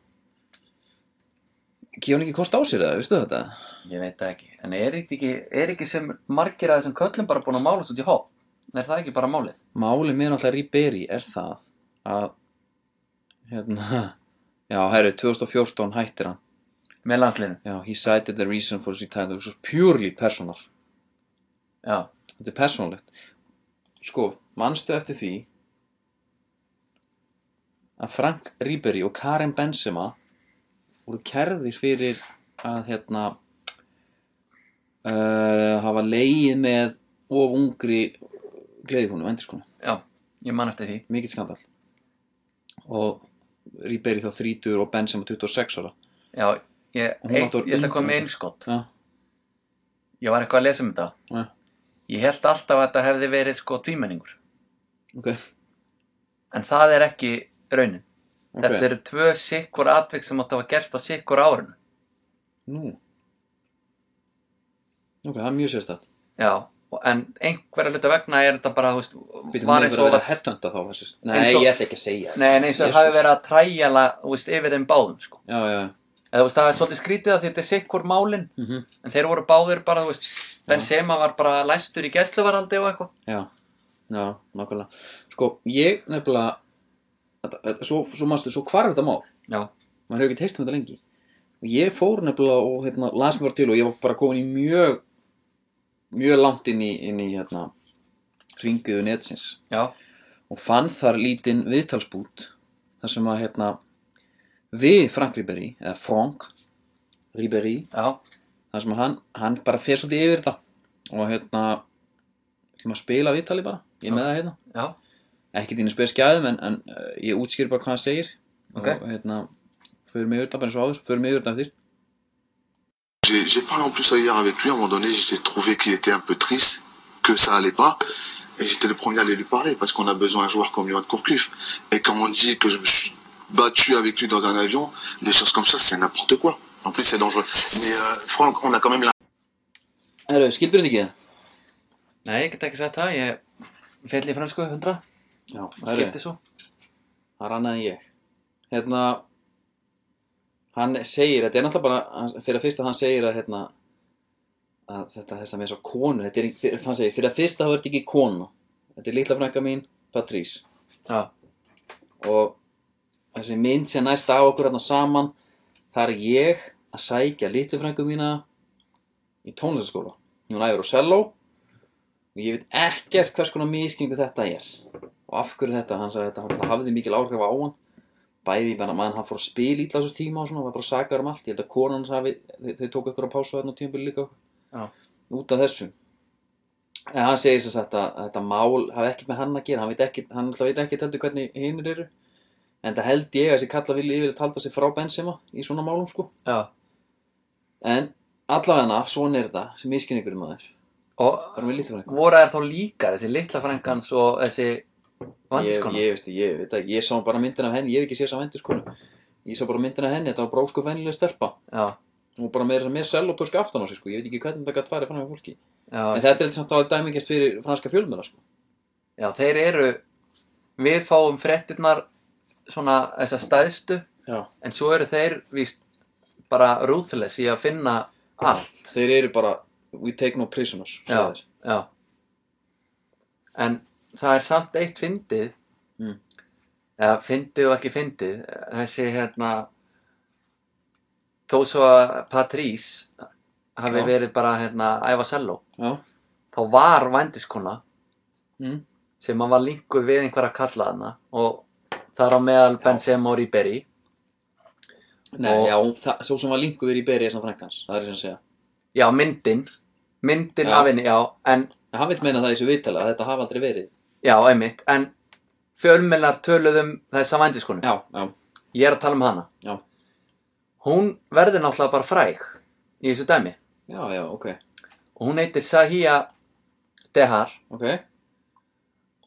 Speaker 1: gefur hann ekki kost á sér eða, veistu þetta?
Speaker 2: ég veit það ekki, en er þetta ekki, er ekki sem margir að þessum köllum bara búin að mála svo til hóp, er það ekki bara málið
Speaker 1: Málið mér alltaf Ríberi er það að, hérna, já, herru, 2014 hættir hann.
Speaker 2: með landslinu,
Speaker 1: Já, he cited the reason for his retirement, which was purely personal.
Speaker 2: já,
Speaker 1: Þetta er persónlegt. Sko, manstu eftir því að Frank Ribery og Karim Benzema voru kerðir fyrir að hérna uh, hafa leið með of ungri gleðikonu, vendurskonu.
Speaker 2: já, ég man eftir því
Speaker 1: Mikið skandal. Og Ribery þá 30 og Benzema 26 ára.
Speaker 2: já, ég,
Speaker 1: Hún
Speaker 2: eitt,
Speaker 1: átti að vera
Speaker 2: ég ætla að koma
Speaker 1: undan-
Speaker 2: með einskott
Speaker 1: Já,
Speaker 2: ég var eitthvað að lesa um þetta
Speaker 1: já,
Speaker 2: ég held alltaf að þetta hefði verið sko tvímenningur
Speaker 1: ok.
Speaker 2: en það er ekki raunin
Speaker 1: Ok.
Speaker 2: þetta eru tvö sikkur atvik sem átt að hafa gerst á sikkur árinu
Speaker 1: Nú. Ok, það er mjög sérstætt.
Speaker 2: já, og- en einhverja hluta vegna er þetta bara, þú veist,
Speaker 1: Býtum
Speaker 2: var
Speaker 1: hún
Speaker 2: eins
Speaker 1: hefur verið að
Speaker 2: og að
Speaker 1: headhunta þá þessi. Nei,
Speaker 2: Eins og-
Speaker 1: ég ætla ekki að segja
Speaker 2: Nei, nei, svo
Speaker 1: Jesus.
Speaker 2: hafi verið að træjala, þú veist, yfir þeim báðum, sko.
Speaker 1: Já, já, já.
Speaker 2: Eða, þú veist, það er svolítið skrítið að þetta er sikkur málin,
Speaker 1: Mhm.
Speaker 2: en þeir voru báðir bara, þú veist, Benzema var bara læstur í gæsluvaraldi og eitthvað.
Speaker 1: já, já, nákvæmlega Sko, ég nefnilega þetta- þetta- Svo, svo manstu, svo hvar er þetta mál?
Speaker 2: Já.
Speaker 1: Maður hefur ekki teirt um þetta lengi og ég fór nefnilega og hérna, las mér til og ég var bara komin í mjög mjög langt inn í, inn í hérna, ringiðu netsins
Speaker 2: Já,
Speaker 1: og fann þar lítinn viðtalsbút þar sem að hérna, við Frank Ribéry eða Frank Ribéry
Speaker 2: já,
Speaker 1: þar sem að hann, hann bara fer svolítið yfir þetta og hérna sem að spila viðtali bara, ég er með það hérna
Speaker 2: já,
Speaker 1: ekki þínu spes gæðum en, en uh, ég útskýr bara hvað hann segir
Speaker 2: Ok.
Speaker 1: og hérna fyrir mig yfir þetta bara eins og áður, fyrir mig yfir þetta eftir
Speaker 3: J'ai j'ai parlé en plus hier avec lui, à un moment donné, j'ai trouvé qu'il était un peu triste, que ça allait pas, et j'étais le premier à aller lui parler, parce qu'on a besoin d'un joueur comme Johan Courcuff. Et quand on dit que je me suis battu avec lui dans un avion, des choses comme ça, c'est n'importe quoi. En plus, c'est dangereux. Mais euh, Franck, on a quand même la
Speaker 1: Herru, skildur þetta ekki það?
Speaker 2: nei, ég get ekki sagt það, ég fell í fransku 100,
Speaker 1: Já, herru,
Speaker 2: skipti svo,
Speaker 1: það er annað en ég hérna hann segir, þetta er náttúrulega bara hann- fyrir að fyrsta hann segir að hérna að þetta þess að með svo konu þetta er, ekki- fyrir, hann segir, fyrir að fyrsta það verður ekki konu þetta er litla frænka mín, Patrís
Speaker 2: já,
Speaker 1: og þessi mynd sem næst á okkur hérna saman þar er ég að sækja litlufrængu mína í tónlistaskóla hún æfur á selló og ég veit ekkert hvers konar miskingu þetta er og af hverju þetta, hann sagði þetta hann hafði mikil áhrif á hann bæði, bara mann, hann fór að spila ítla þessu tíma og svona, var bara sakar um allt, ég held að konan hans hafi, þau, þau tóku ykkur á pásu þarna á tímabili líka
Speaker 2: Já.
Speaker 1: út af þessu en hann segir sem sagt að, að þetta mál hafi ekki með hann að gera, hann veit ekki hann alltaf veit ekki heldur hvernig hinir eru en það held ég að þessi kalla vilja yfirleitt halda sig frá Benzema í svona málum sko
Speaker 2: já,
Speaker 1: en allavegna, svona er þetta sem miskinningur maður,
Speaker 2: og
Speaker 1: bara með lítið frængu
Speaker 2: voru þær þá líkar, þessi litla frankans og þessi
Speaker 1: ég,
Speaker 2: vandiskona?
Speaker 1: ég veist, ekki, ég veit ekki, ég sá bara myndina af henni ég hef ekki séð þess að vendis konu ég sá bara myndina af henni, þetta var bara ósku vennilega stelpa
Speaker 2: Já,
Speaker 1: og bara með þess að mér sellótösku aftan á sig sko ég veit ekki hvernig þetta gætt farið fram með fólki en
Speaker 2: já,
Speaker 1: þetta er eitthvað samt alveg dæmingert fyrir franska fjölmjöla sko
Speaker 2: já, þeir eru, við fáum frettirnar svona þessa stæðstu,
Speaker 1: Já.
Speaker 2: en svo eru þeir víst bara ruthless í að finna allt,
Speaker 1: þeir eru bara, we take no prisoners svo
Speaker 2: Já.
Speaker 1: þeir.
Speaker 2: Já En það er samt eitt fyndið
Speaker 1: Mm.
Speaker 2: eða fyndið og ekki fyndið þessi hérna þó svo að Patrice hafi
Speaker 1: Já.
Speaker 2: verið bara hérna æfa selló
Speaker 1: Já.
Speaker 2: þá var vændiskona
Speaker 1: Mm.
Speaker 2: sem hann var linkuð við einhverja kalla hana og þar á meðal Benzema og Ribéry
Speaker 1: Nei,
Speaker 2: Og-
Speaker 1: já, það, svo sem var lingu verið í berið þess að frankans, það er sem að segja
Speaker 2: Já, myndin myndin
Speaker 1: Já.
Speaker 2: af henni, já en
Speaker 1: En hann vil meina það í þessu viðtala að þetta hafa aldrei verið
Speaker 2: já, einmitt, en fjölmjölar töluðum þessa vændiskonu
Speaker 1: Já, já,
Speaker 2: Ég er að tala um hana.
Speaker 1: Já.
Speaker 2: Hún verður náttúrulega bara fræg í þessu dæmi.
Speaker 1: já, já, ok
Speaker 2: Og hún heitir Sahia Dehar
Speaker 1: Ok,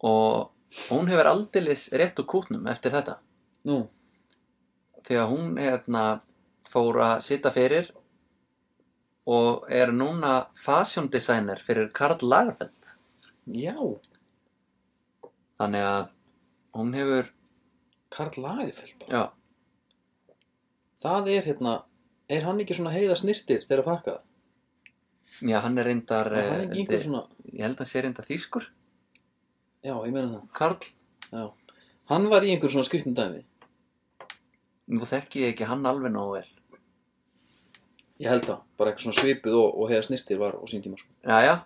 Speaker 2: og hún hefur aldeilis rétt úr kútnum eftir þetta.
Speaker 1: nú,
Speaker 2: Þegar hún hérna, fór að sita fyrir og er núna fashion designer fyrir Karl Lagerfeld.
Speaker 1: já,
Speaker 2: Þannig að hún hefur,
Speaker 1: Karl Lagerfeld bara.
Speaker 2: já,
Speaker 1: Það er hérna, er hann ekki svona heiða snirtir þegar að frakka það?
Speaker 2: já hann er reyndar,
Speaker 1: Er hann
Speaker 2: eh,
Speaker 1: ekki einhver svona,
Speaker 2: ég held að hann sé reyndar þýskur,
Speaker 1: já, ég meina það
Speaker 2: Karl.
Speaker 1: Hann var í einhver svona skrýtnum dæmi
Speaker 2: Nú þekki ég ekki hann alveg nógu vel.
Speaker 1: Ég held það, bara eitthvað svona svipuð og, og heiða snirtir var og sín tíma sko
Speaker 2: Jæja,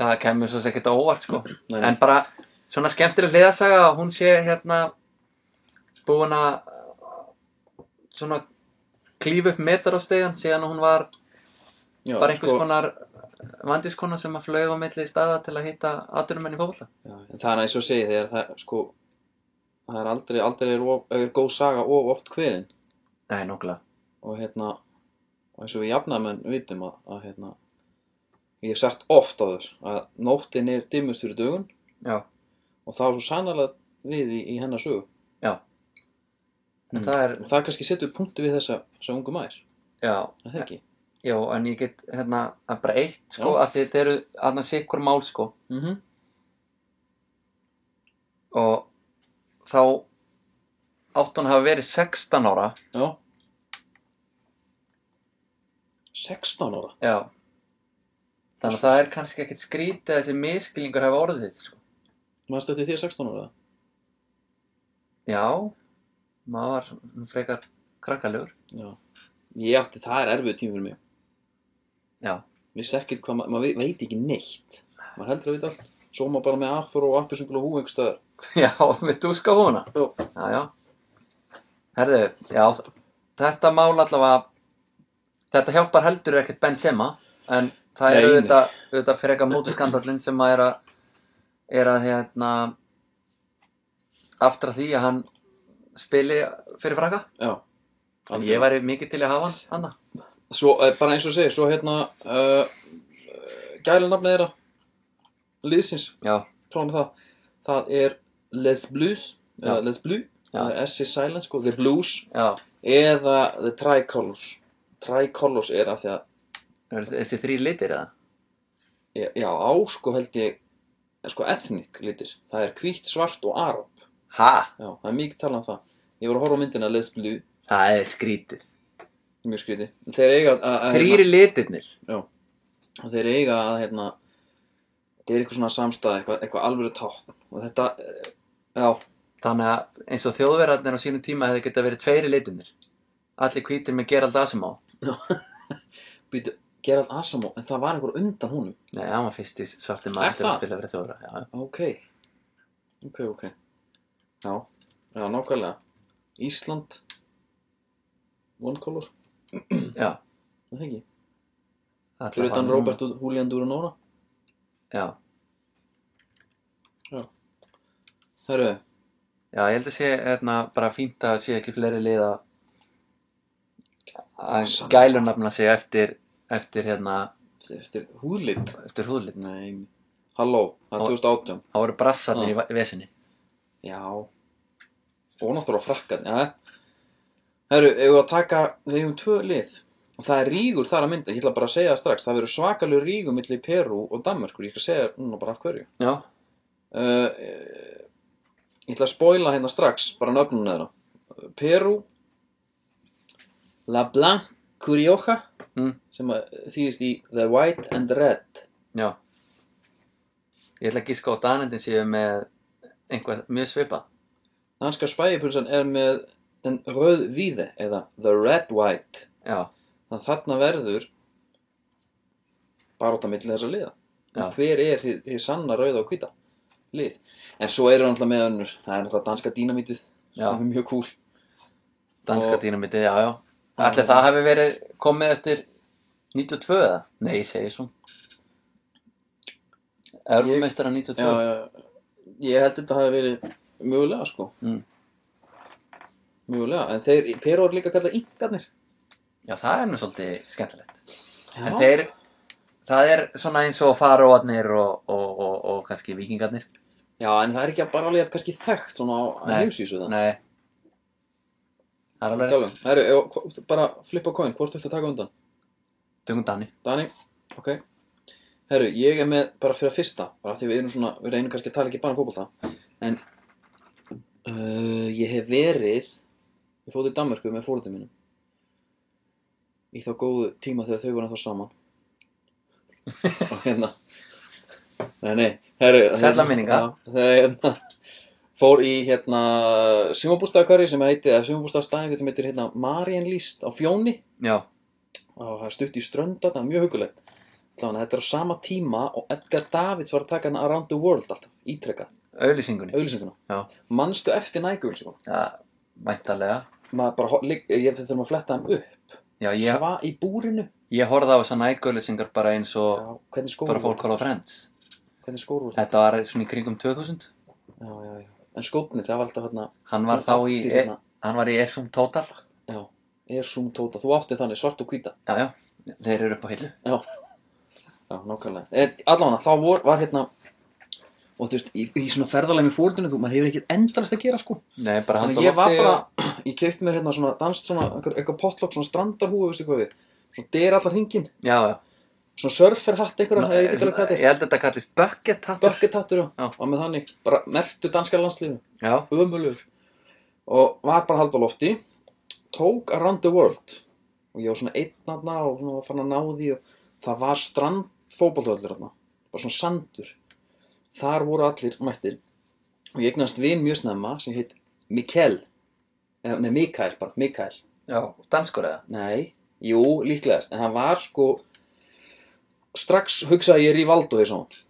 Speaker 2: það kemur svo sem ekkert á óvart sko.
Speaker 1: Nei, nei.
Speaker 2: En bara svona skemmtileg hliðasaga að hún sé hérna búin að uh, svona klífa upp metar á stegan síðan hún var
Speaker 1: já, sko-
Speaker 2: bara einhvers konar vandiskona sem að flög á milli staða til að hitta aturumenn í fólkvall.
Speaker 1: já, en Það er eins og segi þegar það, sko Það er aldrei, aldrei er, of, er góð saga of oft hverinn
Speaker 2: Nei, nokkulega.
Speaker 1: og hérna og eins og við jafnamenn vitum að, að hérna, ég hef sagt oft á þess að nóttin er dimmust fyrir dögun
Speaker 2: Já,
Speaker 1: og það er svo sannarlega við í, í hennar sögu
Speaker 2: já. En
Speaker 1: Mm.
Speaker 2: það er,
Speaker 1: og það kannski setur punktu við þessa, þessa ungu mær
Speaker 2: já,
Speaker 1: er það ekki
Speaker 2: já, en ég get hérna að bara eitt sko,
Speaker 1: Já.
Speaker 2: að því þetta eru aðna sikkur mál sko.
Speaker 1: mm -hmm.
Speaker 2: og þá átt hún að hafa verið 16 ára
Speaker 1: já 16 ára
Speaker 2: já þannig að það er kannski ekkert skrítið að þessi miskilingur hafa orðið sko.
Speaker 1: maður stötti þér 16 ára
Speaker 2: já maður var frekar krakkalegur
Speaker 1: já. Ég átti, það er erfið tíma fyrir mig.
Speaker 2: Já.
Speaker 1: Vissi ekkert hvað, ma- maður veit ekki neitt. Maður heldur að veit allt. Svo maður bara með afur og appisungul og hú einhver staðar.
Speaker 2: Já, með dúska húna.
Speaker 1: Já.
Speaker 2: Já, já. Herðu, já, þ- þetta mál allavega, þetta hjálpar heldur ekkert Benzema, en það er
Speaker 1: Nei, nei.
Speaker 2: auðvitað, auðvitað freka mótuskandallinn sem að er að, er að hérna, aftra því að hann spili fyrir fraka.
Speaker 1: Já.
Speaker 2: En ég væri mikið til að hafa hann, hann
Speaker 1: Svo, eh, bara eins og segir, svo hérna, uh, gæla nafnið þeirra, liðsins,
Speaker 2: Já,
Speaker 1: tróna það, það er Les Blues, eða
Speaker 2: Já.
Speaker 1: Les Blues,
Speaker 2: Já.
Speaker 1: það er S-i silent, sko, The Blues,
Speaker 2: já,
Speaker 1: eða The Tricolors. Tricolors er af því að,
Speaker 2: eru þessi þrý litir eða?
Speaker 1: já, á, sko, held ég, eh, sko, ethnic litir, það er hvítt, svart og arab.
Speaker 2: Ha,
Speaker 1: Já, það er mikið talað um það. Ég var að horfa á myndina Les Blues,
Speaker 2: það er skrítið.
Speaker 1: mjög skríti. Þeir eiga að... að-
Speaker 2: Þrýri litirnir.
Speaker 1: og þeir eiga að hérna, þetta er eitthvað svona samstæð, eitthvað, eitthvað alvöru tákn og þetta, eh, já,
Speaker 2: Þannig að eins og þjóðverðarnir á sínum tíma hefði geta verið tveiri litinir. Allir hvítir með Gerald Asimov.
Speaker 1: býtu, Gerald Asamo, en það var einhver undan honum.
Speaker 2: Nei, hann var fyrst í svarti
Speaker 1: Er
Speaker 2: maður til að
Speaker 1: það?
Speaker 2: spila fyrir þjóðverða. Já,
Speaker 1: Ok, ok, ok, já, já, nákvæmlega, Ísland, One Color,
Speaker 2: já.
Speaker 1: er það ekki,
Speaker 2: allan
Speaker 1: fyrir utan
Speaker 2: hann-
Speaker 1: Robert og Julian Duranóra.
Speaker 2: Já,
Speaker 1: Herru,
Speaker 2: já, ég held að sé hérna, bara fínt að sé ekki fleiri liða að
Speaker 1: Sann-
Speaker 2: gælunafna sig eftir, eftir, hérna,
Speaker 1: þetta er- þetta er húðlit.
Speaker 2: eftir húðlit.
Speaker 1: Nei, halló, það er 2018.
Speaker 2: Það voru brassarnir
Speaker 1: Ah.
Speaker 2: í va- vesinni.
Speaker 1: Já Og náttúrulega frakkan ja. Herru, eigum við að taka Við eigum tvö lið Og það er rígur þar að mynda, ég ætla bara að segja það strax Það verður svakalur rígur milli Perú og Danmörkur Ég ætla að segja þér núna bara af hverju
Speaker 2: Já,
Speaker 1: uh, Ég ætla að spoila hérna strax Bara nöfnum þeirra Perú La Blanc Curioja
Speaker 2: Mm.
Speaker 1: Sem að þýðist í The White and Red
Speaker 2: já. Ég ætla að gíska á Danendin séu með einhvað mjög svipað.
Speaker 1: Danska spæjipulsan er með Den röð víði Eða The Red White
Speaker 2: Já,
Speaker 1: Þannig að þarna verður bara út að milli þessa liða.
Speaker 2: Já.
Speaker 1: Hver er hið, hið sanna rauða og hvíta lið? En svo eru náttúrulega með önnur. Það er náttúrulega danska dínamítið.
Speaker 2: já.
Speaker 1: Það er mjög cool.
Speaker 2: Danska
Speaker 1: Og-
Speaker 2: dýnamitið, já, já. Ætli það hafi verið komið eftir 92 eða? Nei, ég segi svo. Örgumeistara 92.
Speaker 1: Já, já, ég held þetta hafi verið mjögulega sko.
Speaker 2: Mm.
Speaker 1: Mjögulega. En þeir, Peró er líka kallað yngarnir.
Speaker 2: Já, það er nú svolítið skemmtilegt.
Speaker 1: Já.
Speaker 2: En þeir, það er svona eins og faróarnir og, og, og, og kannski vikingarnir.
Speaker 1: Já, en það er ekki bara alveg kannski þekkt svona á
Speaker 2: Nei.
Speaker 1: heimsísu það.
Speaker 2: Nei. Það er alveg
Speaker 1: Galvum.
Speaker 2: rétt.
Speaker 1: Herru, ef- hvo- bara flippa coin. Hvort viltu taka undan?
Speaker 2: Dungum Dani.
Speaker 1: Dani, ok Herru, ég er með bara fyrir að fyrsta bara af því við erum svona, við reynum kannski að tala ekki bara um fótbolta en uh, ég hef verið ég fótt í Danmörku með fórhaldum mínum í þá góðu tíma þegar þau voru ennþá saman og hérna nei, nei, herru hérna,
Speaker 2: Sælla minninga.
Speaker 1: Já, þegar hérna fór í hérna sumabústaðakari sem heiti, eða sumabústaðastæðingur sem heitir hérna Marienlist á Fjóni
Speaker 2: Já,
Speaker 1: og það er stutt í strönda, það er mjög hugulegt Þannig að þetta er á sama tíma og Edgar Davids var að taka hana Around the World alltaf, ítrekka,
Speaker 2: auðlýsingunni.
Speaker 1: auðlýsinguna
Speaker 2: Já.
Speaker 1: Manstu eftir nægauðlýsinguna?
Speaker 2: Já, væntalega.
Speaker 1: Maður bara, ho- ligg- ég þurfum að fletta þeim upp
Speaker 2: Já, ég,
Speaker 1: Sva í búrinu
Speaker 2: ég horfði á svona ægauðlýsingar bara eins og
Speaker 1: Já, hvernig skóru
Speaker 2: bara fólk hóla friends.
Speaker 1: Hvernig skóru voru það?
Speaker 2: Þetta var svona í kringum 2000.
Speaker 1: Já, já, já En skópnir, það var alltaf hérna
Speaker 2: Hann var þá í, e-
Speaker 1: Allt í hérna.
Speaker 2: hann var í Ersum Total.
Speaker 1: Já, er zoom tóta, þú átti þannig svart og hvíta
Speaker 2: Já, já, þeir eru upp á hillu.
Speaker 1: Já, já, nákvæmlega En allavega, þá vor, var hérna Og þú veist, í, í svona ferðalegi með fóldinu, þú, maður hefur ekkert endalast að gera sko
Speaker 2: Nei, bara hann
Speaker 1: Þannig að ég var bara, ég keipti mér hérna svona danst svona, einhver- eitthvað pottlokk, svona strandarhúfu, veistu hvað við, svona dyr allar hringin,
Speaker 2: Já, já.
Speaker 1: svona surferhatt eitthvað, ég veit ekki alveg hvað
Speaker 2: Ég
Speaker 1: þetta er,
Speaker 2: held að þetta kallist bucket hat.
Speaker 1: bucket hattur, já,
Speaker 2: Já.
Speaker 1: og með þannig, bara mertu danska landslífinu,
Speaker 2: Já,
Speaker 1: ömulur, og var bara hald á lofti, tók Around the World, og ég var svona einn aðna og svona var fann að ná því og það var strandfótballtöldur aðna, bara svona sandur, þar voru allir mættir, og ég eignast vin mjög snemma sem heit Mikkel, Eh, nei, Mikael bara, Mikael,
Speaker 2: já, danskur eða.
Speaker 1: Nei, Jú, líklegast, en hann var sko strax hugsaði ég Rivaldo þess að hann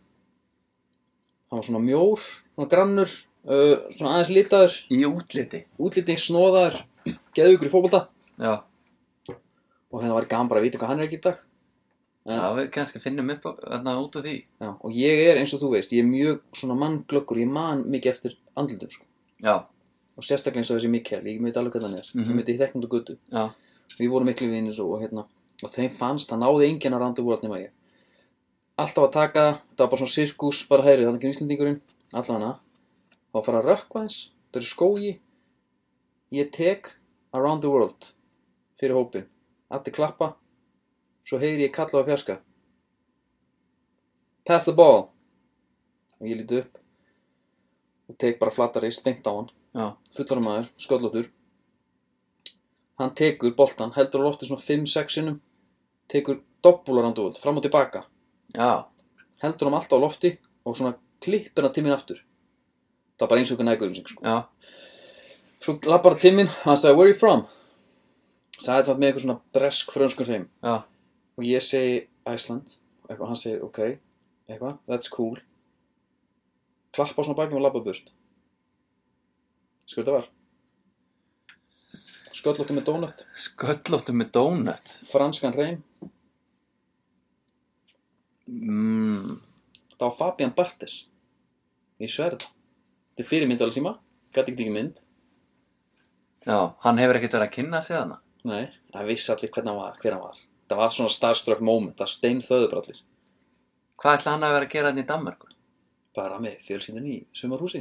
Speaker 1: hann var svona mjór, svona grannur uh, svona aðeins litaður
Speaker 2: Í útliti.
Speaker 1: útliti, snóðaður, geðugur í fótbolta
Speaker 2: Já,
Speaker 1: og hérna var gaman bara að vita hvað hann er ekki í dag
Speaker 2: já við kannski finnum upp á- þarna út úr því.
Speaker 1: Já, og ég er eins og þú veist, ég er mjög svona mannglöggur, ég man mikið eftir andlutum sko.
Speaker 2: Já,
Speaker 1: og sérstaklega eins og þessi Mikkel, ég veit alveg hvað hann er
Speaker 2: Mhm.
Speaker 1: ég veit ég þekknum þú guttu,
Speaker 2: já,
Speaker 1: við vorum miklu vinnir og, hérna, og þeim fannst, það náði enginn að randu úr allt nema ég alltaf að taka, það þetta var bara svona sirkus bara hæri, þannig að Íslandingurinn, allan hana þá að fara að rökkva eins, það eru skógi ég tek around the world fyrir hópin, allir klappa svo heyri ég kalla á fjarska pass the ball og ég líti upp og tek bara flattari stengt á hann
Speaker 2: já,
Speaker 1: fullar maður, sköllóttur hann tekur boltan, heldur á lofti svona 5-6 sinnum tekur doppúlar hann dúvöld, fram og tilbaka
Speaker 2: já,
Speaker 1: heldur hann alltaf á lofti og svona klippir hann timminn aftur það var bara eins og ykkur nægurinn sig sko.
Speaker 2: já,
Speaker 1: svo lappar hann timminn, hann sagði where are you from? sagði þetta samt með eitthvað svona bresk frönskur hreim
Speaker 2: já,
Speaker 1: og ég segi Iceland eitthvað, hann segir ok, eitthvað, that's cool klappa á svona bakið og labba burt skur þetta var sköllóttu með donut
Speaker 2: sköllóttu með donut.
Speaker 1: franskan reym
Speaker 2: Mm,
Speaker 1: það var Fabian Barthes ég sverð það þetta er fyrirmynd alveg síma, gæti ekki ekki mynd
Speaker 2: já, hann hefur ekkert verið að kynna sig þarna.
Speaker 1: nei, það vissi allir hvernig hann var, hver hann var það var svona starstruck moment, það stein þöður allir
Speaker 2: Hvað ætla hann að vera að gera þarna í Danmarku?
Speaker 1: bara með fjölskyndin í sumarhúsi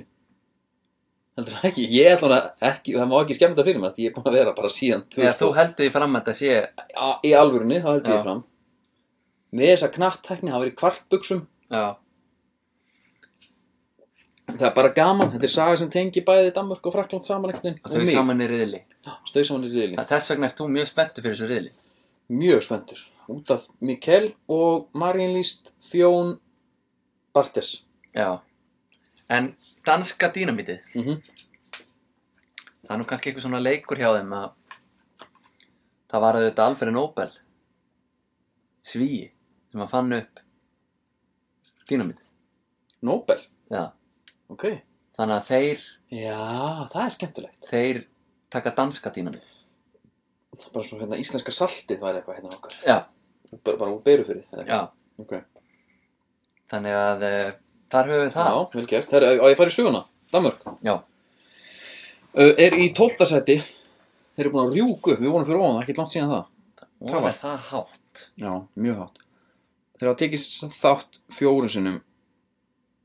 Speaker 1: heldur það ekki, ég ætla hann ekki það má ekki skemmt það fyrir mér, því ég er búin að vera bara síðan
Speaker 2: Þegar þú
Speaker 1: 2000
Speaker 2: heldur því fram að þetta sé,
Speaker 1: Á- í alvörunni, það held
Speaker 2: Já.
Speaker 1: ég fram með þessa knattekni, það var í kvartbuxum
Speaker 2: já,
Speaker 1: það er bara gaman, þetta er saga sem tengi bæði Danmörk og Frakland saman einhvern
Speaker 2: að þau
Speaker 1: mig.
Speaker 2: saman í riðli.
Speaker 1: Þau saman í riðli,
Speaker 2: Að Þess vegna ert þú mjög spenntur fyrir þessu riðli.
Speaker 1: mjög spenntur út af Mikkel og Marienlist Fjón Bartes
Speaker 2: Já. En danska dýnamitið,
Speaker 1: Mhm.
Speaker 2: það er nú kannski eitthvað svona leikur hjá þeim að það var auðvitað Alfred Nobel, svíi, sem að fann upp dýnamitið.
Speaker 1: Nobel,
Speaker 2: Já.
Speaker 1: ok
Speaker 2: Þannig að þeir,
Speaker 1: já, það er skemmtilegt
Speaker 2: þeir taka danska dýnamitið.
Speaker 1: það er bara svo hérna, íslenska saltið var eitthvað hérna okkar
Speaker 2: Já,
Speaker 1: bara, bara úr berufyrir
Speaker 2: já.
Speaker 1: okay.
Speaker 2: Þannig að uh, þar höfum við það.
Speaker 1: já, vel gert, það er, á ég farið söguna Danmörk
Speaker 2: Já.
Speaker 1: uh, er í 12. sæti þeir eru búin að rjúku, við vorum fyrir ofan ekki langt síðan það
Speaker 2: Hvað
Speaker 1: Hvað
Speaker 2: var
Speaker 1: var?
Speaker 2: það hátt?
Speaker 1: Já, mjög hátt. Þeir hafa tekið þátt fjórum sinnum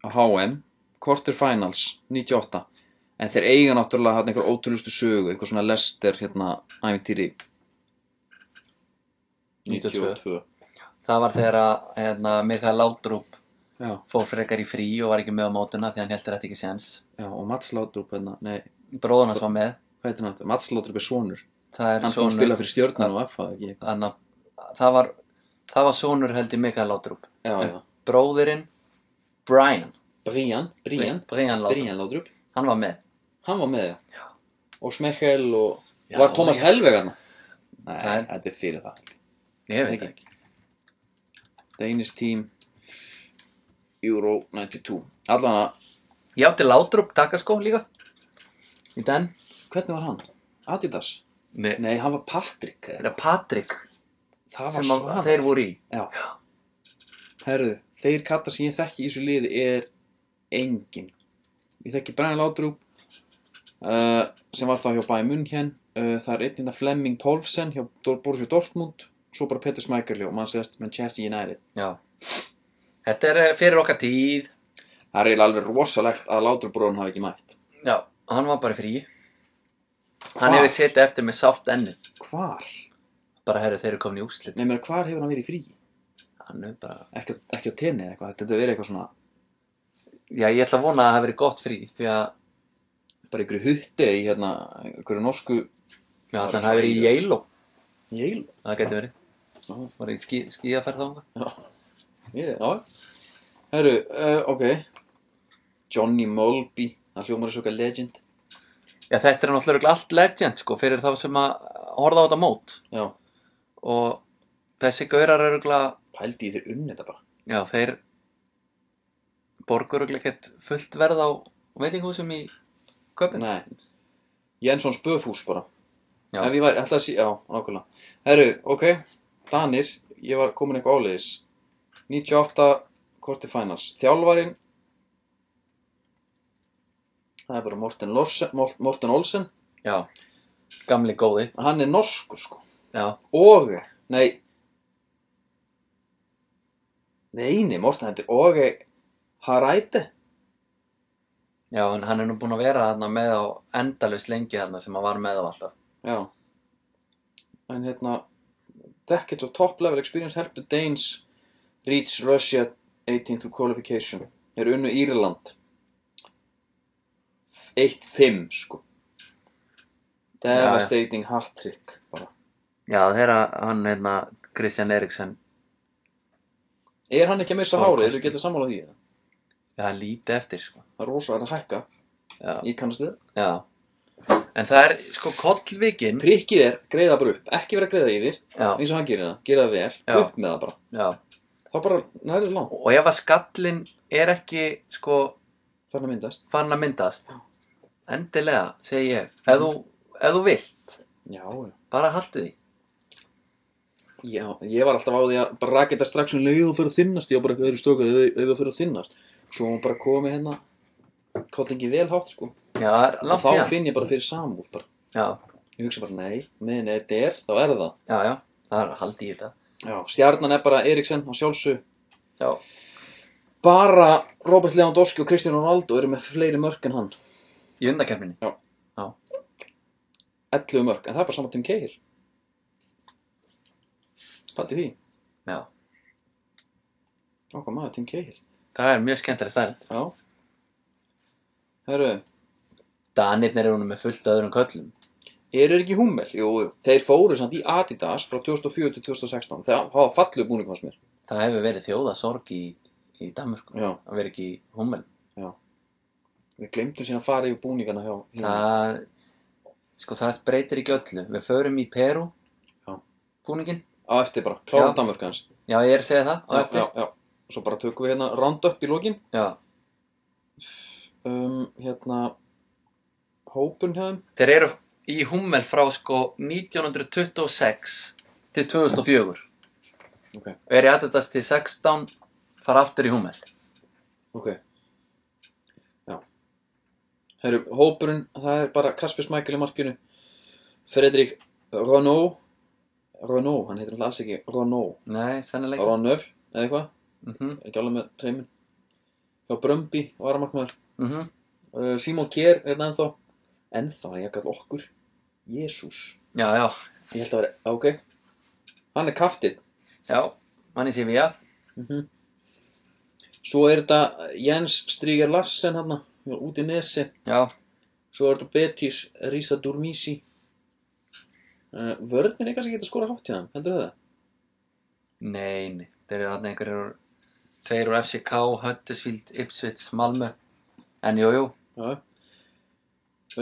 Speaker 1: á HM, quarter finals, 98. En þeir eiga náttúrulega hann einhver ótrúlustu sögu, eitthvað svona lester hérna æfintýri.
Speaker 2: 92. Það var þegar að hérna, Mikael Látrúp
Speaker 1: Já,
Speaker 2: fór frekar í frí og var ekki með á mótuna því hann heldur þetta ekki séns.
Speaker 1: já, og Mats Látrup hérna, nei,
Speaker 2: Bróðan hans var með.
Speaker 1: hvað heitir hann aftur? Mats Látrup er sonur.
Speaker 2: Það er
Speaker 1: Hann kom að spila fyrir stjörnum og F-að ekki.
Speaker 2: Anna, það, var, það var sonur held í Mikael Látrúp.
Speaker 1: Já, já.
Speaker 2: Bróðirinn Brian.
Speaker 1: Brian, Brian,
Speaker 2: Brian Látrúp.
Speaker 1: Brian Látrup,
Speaker 2: Hann var með.
Speaker 1: hann var með það. Já. Og Smekkel og...
Speaker 2: Já,
Speaker 1: var Thomas
Speaker 2: já.
Speaker 1: Helveg hérna? Nei,
Speaker 2: Það er-
Speaker 1: þetta er fyrir það.
Speaker 2: Ég veit
Speaker 1: Ekki.
Speaker 2: það ekki.
Speaker 1: Danish Team Euro 92 Allan að,
Speaker 2: Ég átti Látrúp takaskó líka. Í den.
Speaker 1: hvernig var hann? Adidas?
Speaker 2: Nei.
Speaker 1: Nei, hann var Patrick
Speaker 2: Það er Patrik
Speaker 1: Það var
Speaker 2: sem að,
Speaker 1: svona
Speaker 2: þeir voru í.
Speaker 1: Já. Herðu, þeir kattar sem ég þekki í þessu liði er engin Ég þekki Brian Laudrup uh, sem var þá hjá Bayern München uh, Það er einnig að Flemming Pólfsen hjá Dor- Borussia Dortmund Svo bara Peter Schmeichel hjá Manchester Manchester United
Speaker 2: Já. Þetta er eh, fyrir okkar tíð.
Speaker 1: Það er eiginlega alveg rosalegt að Laudrup bróðum hafi ekki mætt
Speaker 2: Já, hann var bara í frí.
Speaker 1: Hvar?
Speaker 2: Hann hefur setið eftir með sátt enni.
Speaker 1: Hvar?
Speaker 2: Bara herru, þeir eru komin í úrslit.
Speaker 1: Nei, mér, hvar hefur hann verið í fríi?
Speaker 2: Hann er bara...
Speaker 1: ekki, á- ekki á tenni eða eitthvað, þetta verið eitthvað svona
Speaker 2: Já, ég ætla að vona að það hafi verið gott frí því að
Speaker 1: bara einhverju hutti í hérna, einhverju norsku
Speaker 2: Já, þannig að það hafi verið í Yale
Speaker 1: Jél
Speaker 2: Það geti verið.
Speaker 1: Já.
Speaker 2: Var í skí, skíaferð þá?
Speaker 1: Já, herru, uh, ok Johnny Mulby, það hljómar er svo eitthvað legend
Speaker 2: Já, þetta er náttúrulega örugglega allt legend, sko, fyrir þá sem að horfa á þetta mót.
Speaker 1: Já,
Speaker 2: og þessi gaurar öruglega
Speaker 1: Pældi í þeir unni þetta bara.
Speaker 2: Já, þeir borgur örugglega ekkert fullt verð á veitinghúsum í köpinn.
Speaker 1: Nei. Jensson Spöfús bara.
Speaker 2: Já.
Speaker 1: Ef ég var, ætla að sí, já, nákvæmlega. Herru, ok, Danir, ég var komin eitthvað áleiðis. 98 korti finals. Þjálfarin, það er bara Morten, Lorsen, Mor- Morten Olsen.
Speaker 2: Já, gamli góði.
Speaker 1: Hann er norsku, sko.
Speaker 2: Já,
Speaker 1: Og, nei. Nei, nei, Morten, þetta er og Haræti.
Speaker 2: já, en hann er nú búinn að vera þarna með á endalust lengi þarna sem hann var með á alltaf.
Speaker 1: Já. En hérna, Decades of Top Level Experience helped the Danes reach Russia 18 through qualification. Er unnu Írland. 1-5, sko. Devastating hat-trick, bara.
Speaker 2: Já, þeirra hann hérna Christian Eriksen,
Speaker 1: Er hann ekki að missa hárið?
Speaker 2: Stórkostlegt.
Speaker 1: Eru getið sammála því? eða?
Speaker 2: já, hann lítið eftir sko.
Speaker 1: Það er rosa að hækka.
Speaker 2: Já.
Speaker 1: Ég kannast þið.
Speaker 2: Já. En það er sko kollvikinn.
Speaker 1: Prikkið er greiða bara upp. Ekki vera að greiða yfir,
Speaker 2: Já,
Speaker 1: eins og hann gerir það. Gera það vel,
Speaker 2: Já.
Speaker 1: upp með það bara.
Speaker 2: já.
Speaker 1: Það bara nærið langt.
Speaker 2: Og ef að skallinn er ekki sko
Speaker 1: Þannig að myndast.
Speaker 2: farin að myndast, endilega, segi ég, ef þú, ef þú vilt,
Speaker 1: Já, já.
Speaker 2: bara haltu því.
Speaker 1: Já, ég var alltaf á því að bara raketa strax um leið og fyrir að þynnast, ég var bara eitthvað öðru stöku leið og fyrir að þynnast, svo hún bara komið hérna kollingi vel hátt sko
Speaker 2: Já, það er
Speaker 1: og
Speaker 2: langt
Speaker 1: þá
Speaker 2: síðan.
Speaker 1: finn ég bara fyrir samúð bara,
Speaker 2: Já,
Speaker 1: ég hugsa bara nei, meðan þetta er, þá er það
Speaker 2: já, já, það er að halda í þetta.
Speaker 1: Já, stjarnan er bara Eriksen á sjálfsög
Speaker 2: Já,
Speaker 1: bara Robert Lewandowski og Cristiano Ronaldo eru með fleiri mörk en hann
Speaker 2: í undakeppninni.
Speaker 1: 11 mörk, en það er bara saman tím keir Paldi því,
Speaker 2: Já,
Speaker 1: okkar maður tím keir
Speaker 2: það er mjög skemmtileg stærnt.
Speaker 1: Já Herru,
Speaker 2: Danirnir eru nú með fullt af öðrum köllum.
Speaker 1: Eru þeir ekki húmmel? Jú, jú. þeir fóru samt í Adidas frá 2004 til 2016. Það hafa fallu búningum hans mér.
Speaker 2: Það hefur verið þjóðasorg í, í Danmörku.
Speaker 1: Já.
Speaker 2: Það verið ekki í hummel.
Speaker 1: Við glemtum síðan að fara yfir búningana hjá hinn.
Speaker 2: Það, sko, það breytir ekki öllu. Við förum í Peru.
Speaker 1: Já.
Speaker 2: Búningin.
Speaker 1: Á eftir bara, klára
Speaker 2: Já.
Speaker 1: Danmörk hans.
Speaker 2: Já, ég er að segja það á eftir.
Speaker 1: Já, já, já. Svo bara tökum við hérna roundup í lokin.
Speaker 2: Já.
Speaker 1: Um, hérna, hópun hjá þeim.
Speaker 2: Þeir eru í hummel frá sko 1926 til 2004.
Speaker 1: Ok.
Speaker 2: Og eru í aðeitast til 16, fara aftur í hummel.
Speaker 1: Ok. Já. Herru, hópurinn, það er bara Kasper Smækjel í markinu. Fredrik Renault. Renault, hann heitir alltaf alls ekki Renault.
Speaker 2: Nei, sennilega. ekki.
Speaker 1: Renault, eða eitthvað.
Speaker 2: Mhm.
Speaker 1: er ekki alveg með treymin hjá Brömbi, varamarkmaður
Speaker 2: mhm.
Speaker 1: uh, Simon Kjær er það ennþá ennþá, ég kall okkur Jésús,
Speaker 2: Já, já,
Speaker 1: ég held að vera, ok hann er kaftið
Speaker 2: já, manni sé við, já.
Speaker 1: svo er þetta Jens Stryger Larsen hann, út í nesi
Speaker 2: Já,
Speaker 1: svo er þetta Betis Risa Durmisi uh, vörðin er kannski ekki að skora hátt í hann, heldur það
Speaker 2: nei, nei, þeir eru þarna einhverjir úr, tveir úr FCK, Höntusvíld, Ipsvits, Malmö, en jú, jú,
Speaker 1: já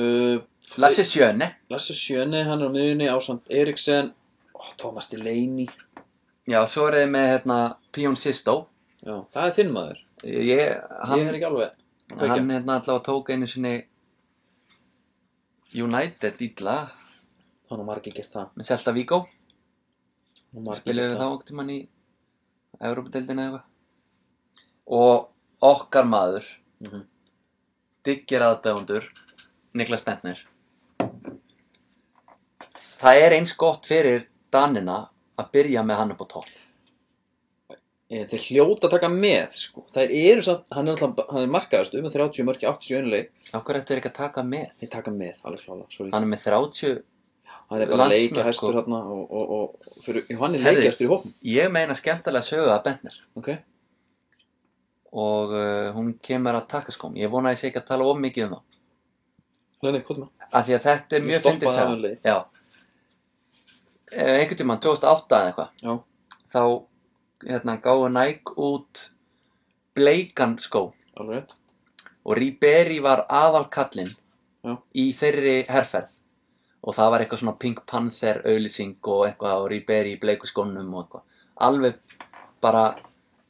Speaker 1: uh,
Speaker 2: Lasse Sjöne,
Speaker 1: Lasse Sjöne, hann er á miðunni ásand Eriksen, oh, Thomas Delaney
Speaker 2: já, svo er þeir með, hérna, Píón Sistó,
Speaker 1: já, það er þinn maður
Speaker 2: ég, hann,
Speaker 1: ég er ekki alveg að kveikja.
Speaker 2: hann, hérna, allavega tók einu sinni United ítla,
Speaker 1: hann og margir gert það
Speaker 2: með Selta Víkó,
Speaker 1: Hann og margir
Speaker 2: spiluðu
Speaker 1: gert
Speaker 2: þá
Speaker 1: það
Speaker 2: okkur mann í Európa-deildinu eða eitthvað, og okkar maður,
Speaker 1: Mhm.
Speaker 2: diggir aðdæfundur Niklas Bentner Það er eins gott fyrir Danina að byrja með hann upp á topp
Speaker 1: Eh, þeir hljóta að taka með sko. þær eru samt, hann er, alltaf, hann er markaðast um 30 mörki 80 önuleg
Speaker 2: Akkur ættu er ekki að taka með
Speaker 1: þeir taka með, alveg klála sorry.
Speaker 2: Hann er með 30
Speaker 1: hann er bara
Speaker 2: landsmörk,
Speaker 1: leikja
Speaker 2: sko.
Speaker 1: hæstur hérna og, og, og, og fyrir, jú, hann er
Speaker 2: Herri.
Speaker 1: leikja hæstur í hópum
Speaker 2: Ég meina skemmtilega sögu að Bentner
Speaker 1: okay?
Speaker 2: og uh, hún kemur að taka skóm Ég vona að ég sé ekki að tala of mikið um það
Speaker 1: nei, nei, hvað með
Speaker 2: Af því að þetta er
Speaker 1: Ég
Speaker 2: mjög
Speaker 1: stoppaði
Speaker 2: fyndið
Speaker 1: hann
Speaker 2: saga
Speaker 1: leið.
Speaker 2: Já Eh, Einhvern tímann 2008 eða eitthvað
Speaker 1: já,
Speaker 2: þá hérna, gáðu Nike út bleikan skó
Speaker 1: alveg rétt
Speaker 2: og Ribéry var aðalkallinn
Speaker 1: Já.
Speaker 2: í þeirri herferð og það var eitthvað svona Pink Panther auðlýsing og eitthvað og Ribery í bleiku skónum og eitthvað alveg bara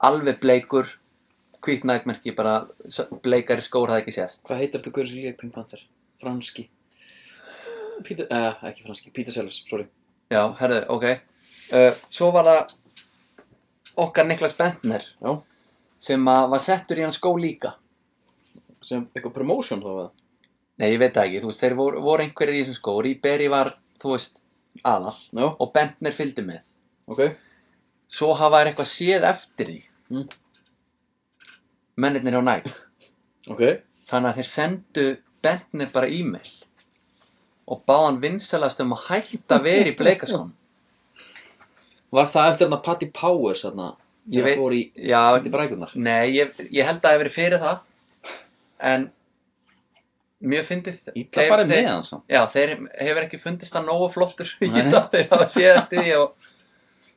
Speaker 2: alveg bleikur hvítt nægmerki bara s- bleikari skór það ekki sést
Speaker 1: Hvað heitir þetta gaurið sem lék Pink Panther? Franski. Peter, eh, ekki franski, Peter Sellers, sorry.
Speaker 2: já, herðu, ok uh, svo var það okkar Niklas Bentner
Speaker 1: Já,
Speaker 2: sem að var settur í hann skó líka
Speaker 1: sem eitthvað promotion þá eða?
Speaker 2: nei, ég veit það ekki, þú veist, þeir voru, voru einhverjir í þessum skó Ribery var, þú veist, aðal
Speaker 1: Já,
Speaker 2: og Bentner fylgdi með
Speaker 1: ok.
Speaker 2: svo hafa þær eitthvað séð eftir því Hm?
Speaker 1: Mm.
Speaker 2: mennirnir á næg
Speaker 1: Ok.
Speaker 2: þannig að þeir sendu Bentner bara e-mail og báðan vinsalast um að hætta að vera í bleikaskónum
Speaker 1: Var það eftir þarna Patty Powers þarna?
Speaker 2: Ég
Speaker 1: þegar
Speaker 2: veit-
Speaker 1: fór í
Speaker 2: já.
Speaker 1: Sýndi brækunar.
Speaker 2: nei, ég, ég held að það hef verið fyrir það en mjög fyndið
Speaker 1: Ítla farið með hann samt.
Speaker 2: já, þeir hefur ekki fundist það nógu flottur í
Speaker 1: Nei.
Speaker 2: það þeir hafa séð eftir því og,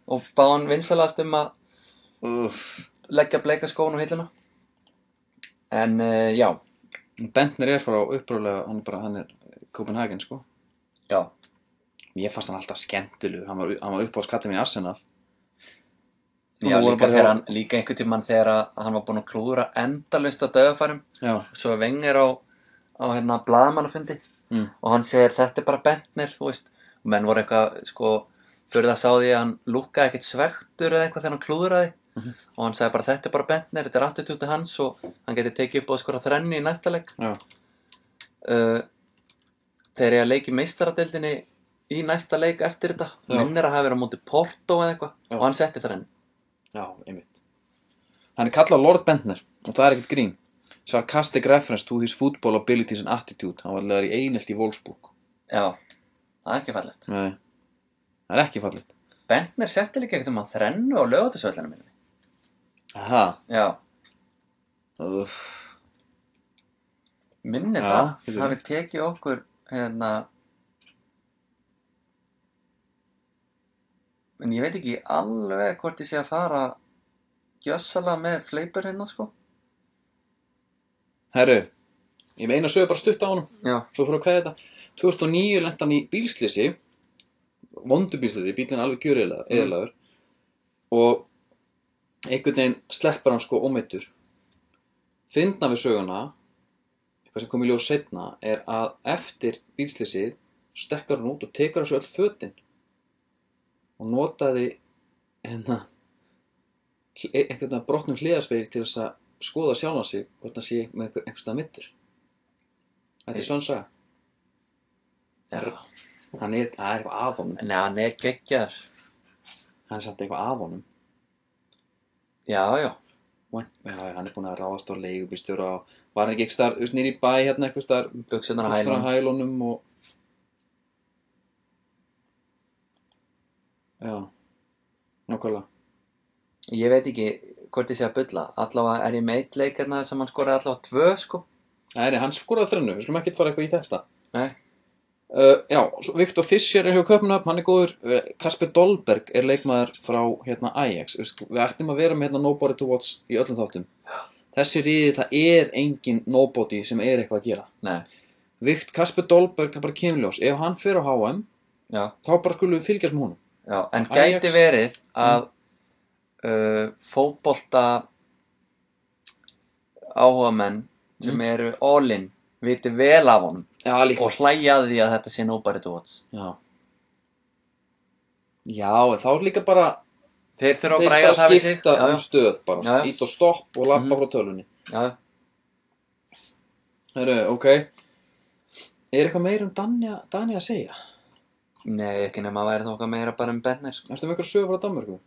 Speaker 2: og báðan vinsalast um að
Speaker 1: Uff.
Speaker 2: leggja bleikaskónu á hilluna en uh, já
Speaker 1: Bentner er frá upprólega, hann er bara, hann er Copenhagen sko.
Speaker 2: já,
Speaker 1: Mér fannst hann alltaf skemmtilegur, hann var, hann var upp á skallið minn í Arsenal.
Speaker 2: Já,
Speaker 1: Nú voru
Speaker 2: líka,
Speaker 1: bara
Speaker 2: þegar
Speaker 1: hjá-
Speaker 2: hann, líka einhvern tímann þegar að- hann var búinn að klúðra endalust á döðafærum
Speaker 1: Já.
Speaker 2: svo er vengir á, á hérna, blaðamannafundi
Speaker 1: Mm.
Speaker 2: og hann segir þetta er bara bentnir, þú veist og menn voru eitthvað, sko, fyrir það sá því að hann lúkkaði ekkert svektur eða eitthvað þegar hann klúðraði
Speaker 1: Mhm.
Speaker 2: og hann sagði bara þetta er bara bentnir, þetta er attitúti hans og hann geti tekið upp og skora þrennu í næsta leik
Speaker 1: Já.
Speaker 2: uh, þegar ég að leik í meistaradeildinni í næsta leik eftir þetta,
Speaker 1: Já.
Speaker 2: minnir að hafa verið á móti Porto eða eitthvað
Speaker 1: Já.
Speaker 2: og hann setti þrennu
Speaker 1: Já, einmitt. Hann er kallað Lord Bentner og það er ekkert grín. Sarcastic reference to his football abilities and attitude. Hann var leðar í einelt í Wolfsburg.
Speaker 2: Já, það er ekki fallegt.
Speaker 1: Nei, það er ekki fallið.
Speaker 2: Bentner setti líka eitthvað um að þrennu á lögatisvöllinu minni.
Speaker 1: Aha,
Speaker 2: Já,
Speaker 1: uff.
Speaker 2: minnir
Speaker 1: Já,
Speaker 2: það.
Speaker 1: getur
Speaker 2: Það hafi tekið okkur, hérna... En ég veit ekki alveg hvort ég sé að fara gjössala með fleipur hérna, sko.
Speaker 1: Herru, ég meina sögur bara stutt á honum.
Speaker 2: Já,
Speaker 1: Svo fyrir að hvað þetta? 2009 lent hann í bílslisi, vondubílslisi, bílinn alveg gjur eðlaður. Og einhvern veginn sleppar hann sko ómeittur. Fyndna við söguna, eitthvað sem kom í ljós setna, er að eftir bílslisið stekkar hann út og tekar þessu öll fötin. Og notaði hérna hl- e- einhvern veginn brotnum hliðarspegil til þess að skoða sjálfan sig hvort hann sé með einhver- einhvers stað mittur. Þetta er svona saga.
Speaker 2: já.
Speaker 1: Hann er, það er eitthvað af honum.
Speaker 2: En já, hann er geggjaður.
Speaker 1: Hann er samt eitthvað af honum.
Speaker 2: Já, já.
Speaker 1: What? Já, já, hann er búinn að ráðast á leigubýstjóra og var hann ekki ekki starf, veist, nýri bæ hérna eitthvað starf,
Speaker 2: Buksunar á
Speaker 1: bústur á
Speaker 2: hælunum.
Speaker 1: hælunum og... Já, nákvæmlega.
Speaker 2: Ég veit ekki hvort ég sé að bulla. Allavega er ég með eitt leik hérna sem hann skoraði allavega tvö, sko.
Speaker 1: Nei, nei, hann skoraði þrennu, við skulum ekkert fara eitthvað í þetta.
Speaker 2: Nei.
Speaker 1: Uh, já, svo Viktor Fischer er hjá Köpnöfn, hann er góður. Uh, Kasper Dolberg er leikmaður frá hérna Ajax. Veist, Við ættum að vera með hérna Nobody to Watch í öllum þáttum. Þessi riði, það er engin nobody sem er eitthvað að gera.
Speaker 2: Nei,
Speaker 1: Vikt Kasper Dolberg er bara kynljós ef hann fer á HM
Speaker 2: já.
Speaker 1: þá bara skulum við fylgjast með honum
Speaker 2: Já, en
Speaker 1: Ajax- Mm.
Speaker 2: gæti verið að uh, fótbolta áhugamenn sem
Speaker 1: Mm.
Speaker 2: eru all-in viti vel af honum
Speaker 1: Já,
Speaker 2: og hlæja að því að þetta sé nobody to watch.
Speaker 1: Já, já en þá er líka bara
Speaker 2: Þeir þurfa
Speaker 1: þeir
Speaker 2: bara að
Speaker 1: bara
Speaker 2: eiga það við sig.
Speaker 1: skipta um
Speaker 2: Já,
Speaker 1: stöð bara
Speaker 2: Já, já.
Speaker 1: ít og stopp og lappa
Speaker 2: Mhm.
Speaker 1: frá tölunni
Speaker 2: já, já.
Speaker 1: Heru, ok Er eitthvað meir um Dani, Dani að segja?
Speaker 2: Nei, ekki nema að væri þá okkar meira bara um Benner, sko.
Speaker 1: Ertu með eitthvað sögur frá Danmörku?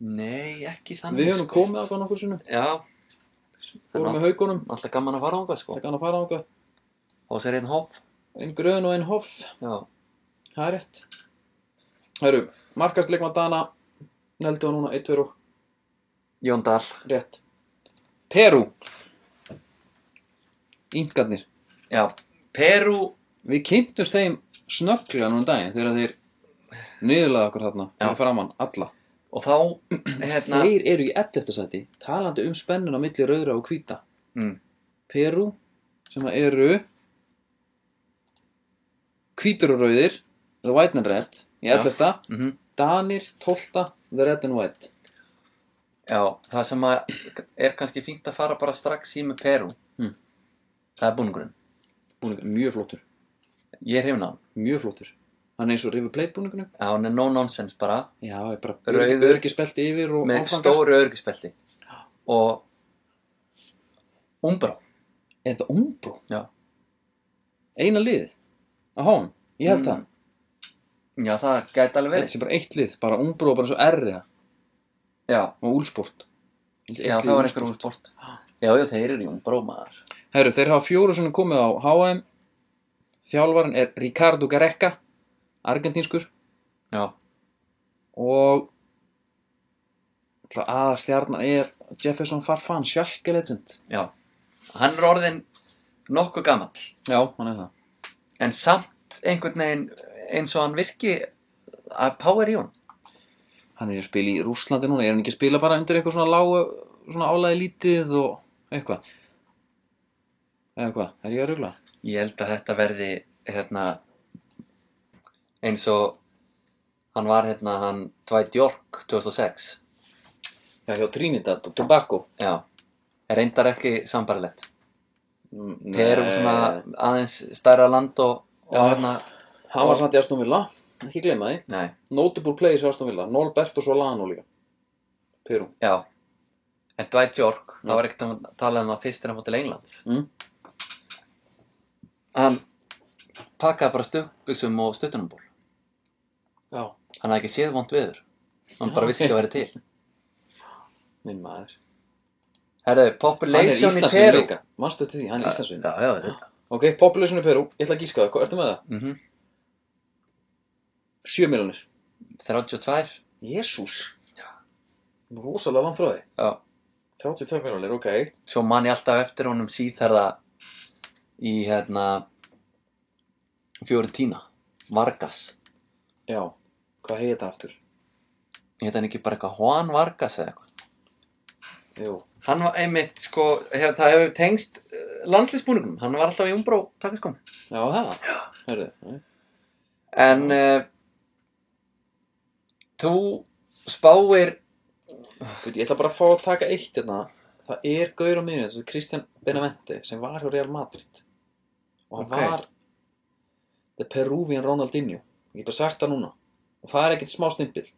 Speaker 2: Nei, ekki þannig,
Speaker 1: Við höfum
Speaker 2: sko.
Speaker 1: komið ákvæðan okkur sinni
Speaker 2: Já,
Speaker 1: Fórum
Speaker 2: Ná.
Speaker 1: með haugunum,
Speaker 2: alltaf gaman að fara okkar, sko.
Speaker 1: það kann að fara ákvæð
Speaker 2: Og þeir einn hóp.
Speaker 1: Einn grön og einn hoff
Speaker 2: Já,
Speaker 1: Það er rétt Heru, markast leikma Dana Neldu núna 1-2 og
Speaker 2: Jón Dahl.
Speaker 1: Rétt. Perú. Yngarnir.
Speaker 2: Já, Peru,
Speaker 1: Við kynntumst þeim snögglega núna um daginn þegar þeir niðurlaði okkur þarna.
Speaker 2: Já.
Speaker 1: Já. Framan, alla.
Speaker 2: og þá, hérna,
Speaker 1: Þeir eru í 11. sæti talandi um spennun á milli rauðra og hvíta.
Speaker 2: Mm.
Speaker 1: Perú sem að eru hvítur og rauðir The White and Red í
Speaker 2: Já.
Speaker 1: 11.
Speaker 2: mhm.
Speaker 1: Danir 12. The Red and White
Speaker 2: Já, það sem að er kannski fínt að fara bara strax í með Perú
Speaker 1: Mm.
Speaker 2: Það er búningurinn
Speaker 1: Búningur, mjög flottur
Speaker 2: Ég er hrifin á hann
Speaker 1: Mjög flottur Hann er eins og River Plate búningunum
Speaker 2: Já, Hann er no nonsense bara
Speaker 1: Já, er bara
Speaker 2: Rauður.
Speaker 1: örgi spelt yfir og
Speaker 2: með
Speaker 1: áfangar.
Speaker 2: stóru örgispelti og Umbro
Speaker 1: Er þetta Umbro?
Speaker 2: Já.
Speaker 1: Eina lið á hón, ég held það
Speaker 2: Mm, Já, það gæti alveg
Speaker 1: Þetta
Speaker 2: verið
Speaker 1: sé bara eitt lið, bara Umbro og bara svo R
Speaker 2: Já,
Speaker 1: og Úlsport
Speaker 2: já það var einhver útbort Já, já, þeir eru í Umbro maður
Speaker 1: Herru, þeir hafa fjóru sem komið á HM Þjálfarin er Ricardo Gareca Argentínskur
Speaker 2: Já,
Speaker 1: og aða stjarnan er Jefferson Farfan, Schalke legend
Speaker 2: já Hann er orðinn nokkuð gamall
Speaker 1: Já, hann er það
Speaker 2: en samt einhvern veginn eins og hann virki að power í hún
Speaker 1: Hann er að spila í Rússlandi núna, er hann ekki að spila bara undir eitthvað svona lágu, svona álæði lítið og eitthvað Eða hvað, er ég að rugla?
Speaker 2: Ég held að þetta verði hérna eins og hann var hérna hann Dwight York 2006
Speaker 1: Já, hjá Trinidad og Tobacco
Speaker 2: Já, reyndar ekki sambarlegt Peru svona aðeins stærra land og, og
Speaker 1: Já.
Speaker 2: hérna
Speaker 1: Hann var samt í Aston Villa, ekki gleyma því
Speaker 2: Nei,
Speaker 1: Notable players í Aston Villa, Nolbert og Solano líka Peru
Speaker 2: já En Dwight York, það var ekkert að tala um það fyrst en hann fór til Englands
Speaker 1: Mm.
Speaker 2: Hann pakkaði bara stuttbuxum og stuttunumból
Speaker 1: Já,
Speaker 2: Hann hafði ekki séð vont viður Hann bara vissi ekki að vera til
Speaker 1: minn maður
Speaker 2: Herðu, population í Peru
Speaker 1: líka, manstu til því, hann er Íslandsvinn
Speaker 2: Já, já, þetta
Speaker 1: Ok, population í Peru, ég ætla að gíska það, hvað ertu með það?
Speaker 2: mm
Speaker 1: 7 miljonir
Speaker 2: 32
Speaker 1: Jésús Rosalega langt frá því
Speaker 2: Já,
Speaker 1: 32 miljonir, ok
Speaker 2: svo man ég alltaf eftir honum síðherða í hérna Fiorentina Vargas
Speaker 1: Já, hvað heita það aftur?
Speaker 2: Hérna hann ekki bara eitthvað Juan Vargas eða eitthvað
Speaker 1: Jú,
Speaker 2: Hann var einmitt, sko, hef, það hefur tengst landslýsbúningum, hann var alltaf í umbró takkaskom
Speaker 1: já það Hörðu, nei.
Speaker 2: En uh, þú spáir
Speaker 1: Veit, ég ætla bara að fá að taka eitt hérna Það er gaur á miðjunni, þetta er Christian Benavente sem var hjá Real Madrid og hann
Speaker 2: Ok.
Speaker 1: var The Peruvian Ronaldinho ég hef bara sagt það núna og það er ekkert smá snimpill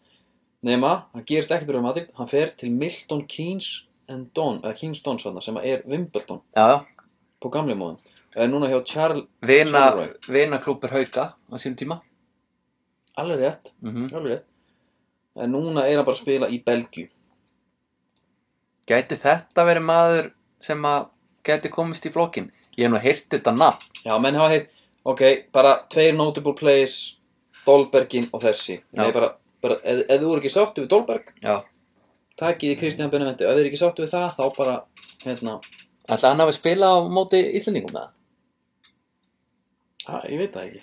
Speaker 1: nema, hann gerist ekkert úr Real Madrid hann fer til Milton Keynes and Don, eða Keynes Don sann, sem er Wimbledon
Speaker 2: Já,
Speaker 1: på gamli móðum og er núna hjá Charles,
Speaker 2: vina,
Speaker 1: Sólveig.
Speaker 2: vina klúpur hauka á sínum tíma
Speaker 1: alveg rétt
Speaker 2: mm
Speaker 1: alveg rétt en núna er hann bara að spila í Belgíu
Speaker 2: Gæti þetta verið maður sem að gæti komist í flokkin? Ég hef nú heyrt þetta nafn.
Speaker 1: Já, menn hafa heitt, ok, bara tveir notable plays, Dolbergin og þessi.
Speaker 2: Já.
Speaker 1: Nei, bara, bara ef, ef þið voru ekki sáttu við Dolberg,
Speaker 2: Já.
Speaker 1: takið þið Kristján Beneventi. Ef þið eru ekki sáttu við það, þá bara, hérna,
Speaker 2: Ætli hann hafi spilað á móti Íslendingum með það?
Speaker 1: að, ég veit það ekki.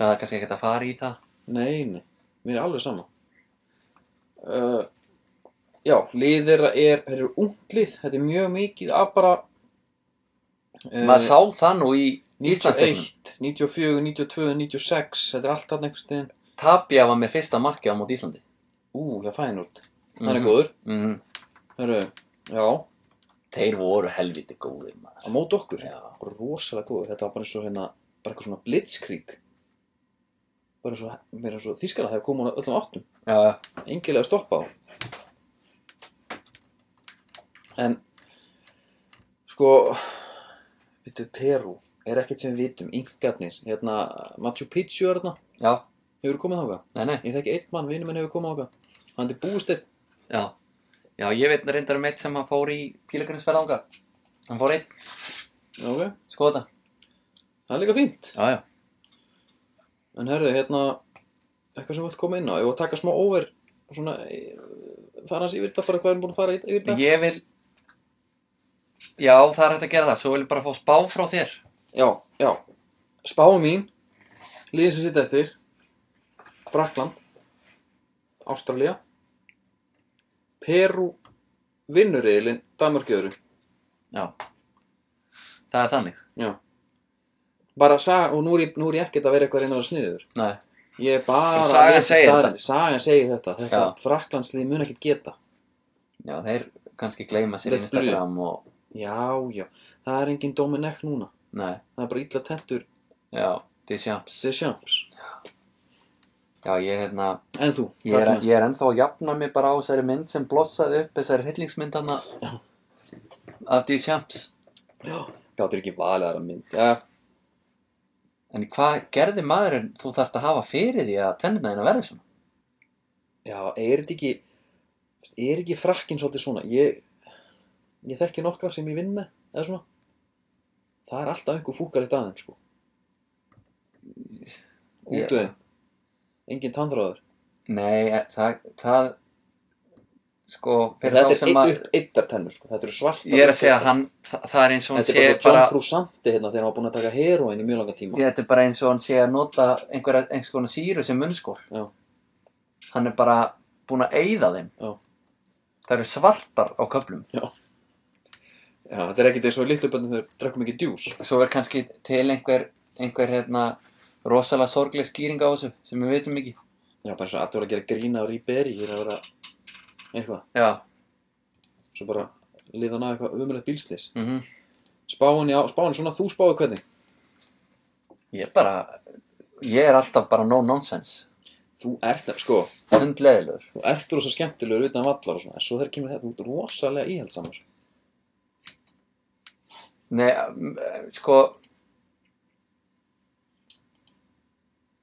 Speaker 2: Það er kannski ekkert að fara í það.
Speaker 1: Nei, nei, mér er alveg sama. Uh, já, lið þeirra er, þeir eru unglið, þetta er mjög mikið af bara... Uh,
Speaker 2: Maður sá það nú í Íslandsleiknum.
Speaker 1: 91, 94, 92, 96, þetta er allt hann einhvers stegin.
Speaker 2: Tapja var með fyrsta marki á móti Íslandi.
Speaker 1: Ú, það fæði núrt. Það er
Speaker 2: Mhm.
Speaker 1: góður.
Speaker 2: Mm.
Speaker 1: Hörru, já,
Speaker 2: Þeir voru helviti góðir maður.
Speaker 1: á móti okkur
Speaker 2: Já.
Speaker 1: rosalega góður, þetta var bara eins og hérna bara eitthvað svona blitzkrík bara eins og, bara eins og þýskara það kom hún að öllum áttum,
Speaker 2: Já, já.
Speaker 1: engilega að stoppa á en sko veitu, Peru er ekkert sem við vitum, yngarnir hérna, Machu Picchu er hérna
Speaker 2: Já,
Speaker 1: hefur komið þáka,
Speaker 2: nei, nei.
Speaker 1: ég þekki einn mann vinnum minn hefur komið þáka, hann er búist einn
Speaker 2: Já. Já, ég veit reyndar um eitt sem að fór í pílagrunnsferð ánga. Hann fór einn,
Speaker 1: ok,
Speaker 2: sko þetta.
Speaker 1: það er líka fínt
Speaker 2: Já, já.
Speaker 1: En herðu, hérna, eitthvað sem þú vilt koma inn á, ég var að taka smá over, svona, eh, fara hans yfir þetta, bara hvað erum búin að fara í- yfir þetta?
Speaker 2: Ég vil... Já, það er hægt að gera það. Svo vil ég bara fá spá frá þér.
Speaker 1: Já, já, spáum mín, liðin sem sitja eftir, Frakland, Ástralía, Peru, vinnurriðilinn, Danmörk í öðru.
Speaker 2: Já, það er þannig.
Speaker 1: Já. bara saga, og nú er, ég, nú er ég ekkert að vera eitthvað að reyna að vera sniður
Speaker 2: Nei,
Speaker 1: ég er bara
Speaker 2: Sagan
Speaker 1: að lesa
Speaker 2: segir
Speaker 1: staðreynd sagan segir þetta, þetta
Speaker 2: Já.
Speaker 1: fraklandslið mun ekkert geta
Speaker 2: já, þeir kannski gleyma sér í
Speaker 1: Lestu
Speaker 2: Instagram og...
Speaker 1: já, já, það er engin Dominek núna
Speaker 2: Nei,
Speaker 1: það er bara illa tentur
Speaker 2: já, Deschamps.
Speaker 1: Deschamps
Speaker 2: Já, ég, hérna,
Speaker 1: en þú,
Speaker 2: ég er,
Speaker 1: Ragnar?
Speaker 2: ég er ennþá að jafna mig bara á þessari mynd sem blossaði upp, þessari hryllingsmyndana af Deschamps.
Speaker 1: gáttir ekki valið aðra mynd ja,
Speaker 2: En hvað gerði maðurinn þú þarft að hafa fyrir því að tennina þín að verða svona?
Speaker 1: já, er þetta ekki er ekki frakkinn svolítið svona ég, ég þekki nokkra sem ég vinn með eða svona það er alltaf einhver fúkaritt aðeim sko
Speaker 2: Ég-
Speaker 1: útöðin engin tannþráður
Speaker 2: Nei, eh, það, það sko, fyrir
Speaker 1: þetta
Speaker 2: þá
Speaker 1: er
Speaker 2: sem
Speaker 1: ein,
Speaker 2: að
Speaker 1: upp eittar tennur sko þetta eru svarta
Speaker 2: ég er að segja að hann, það, það er eins og hann
Speaker 1: þetta
Speaker 2: sé
Speaker 1: er bara svo John
Speaker 2: bara,
Speaker 1: Frusanti hérna þegar hann var búin að taka heroin í mjög langa tíma
Speaker 2: ég, þetta er bara eins og hann sé að nota einhverja, einhvers konar síru sem munnskól.
Speaker 1: Já.
Speaker 2: Hann er bara búinn að eyða þeim.
Speaker 1: Já.
Speaker 2: Það eru svartar á köflum.
Speaker 1: Já, þetta er ekkert eins og litlu bönnum þegar drekkum ekki djús
Speaker 2: Svo er kannski til einhver, einhver hérna, rosalega sorgleg skýring á þessu sem við veitum ekki.
Speaker 1: Já, bara eins og allir voru að gera grína á Ríberi hér að vera eitthvað
Speaker 2: Já.
Speaker 1: svo bara liðan af eitthvað umulegt bílslis
Speaker 2: Mm
Speaker 1: Spáin, já, spáin, svona þú spáið hvernig
Speaker 2: Ég er bara, ég er alltaf bara no nonsense.
Speaker 1: Þú ert, sko,
Speaker 2: Hundleðilegur.
Speaker 1: þú ert rosa skemmtilegur utan vallar og svona en svo þegar kemur þetta, þú ert rosalega íhaldsamur
Speaker 2: Nei, m- eh, sko,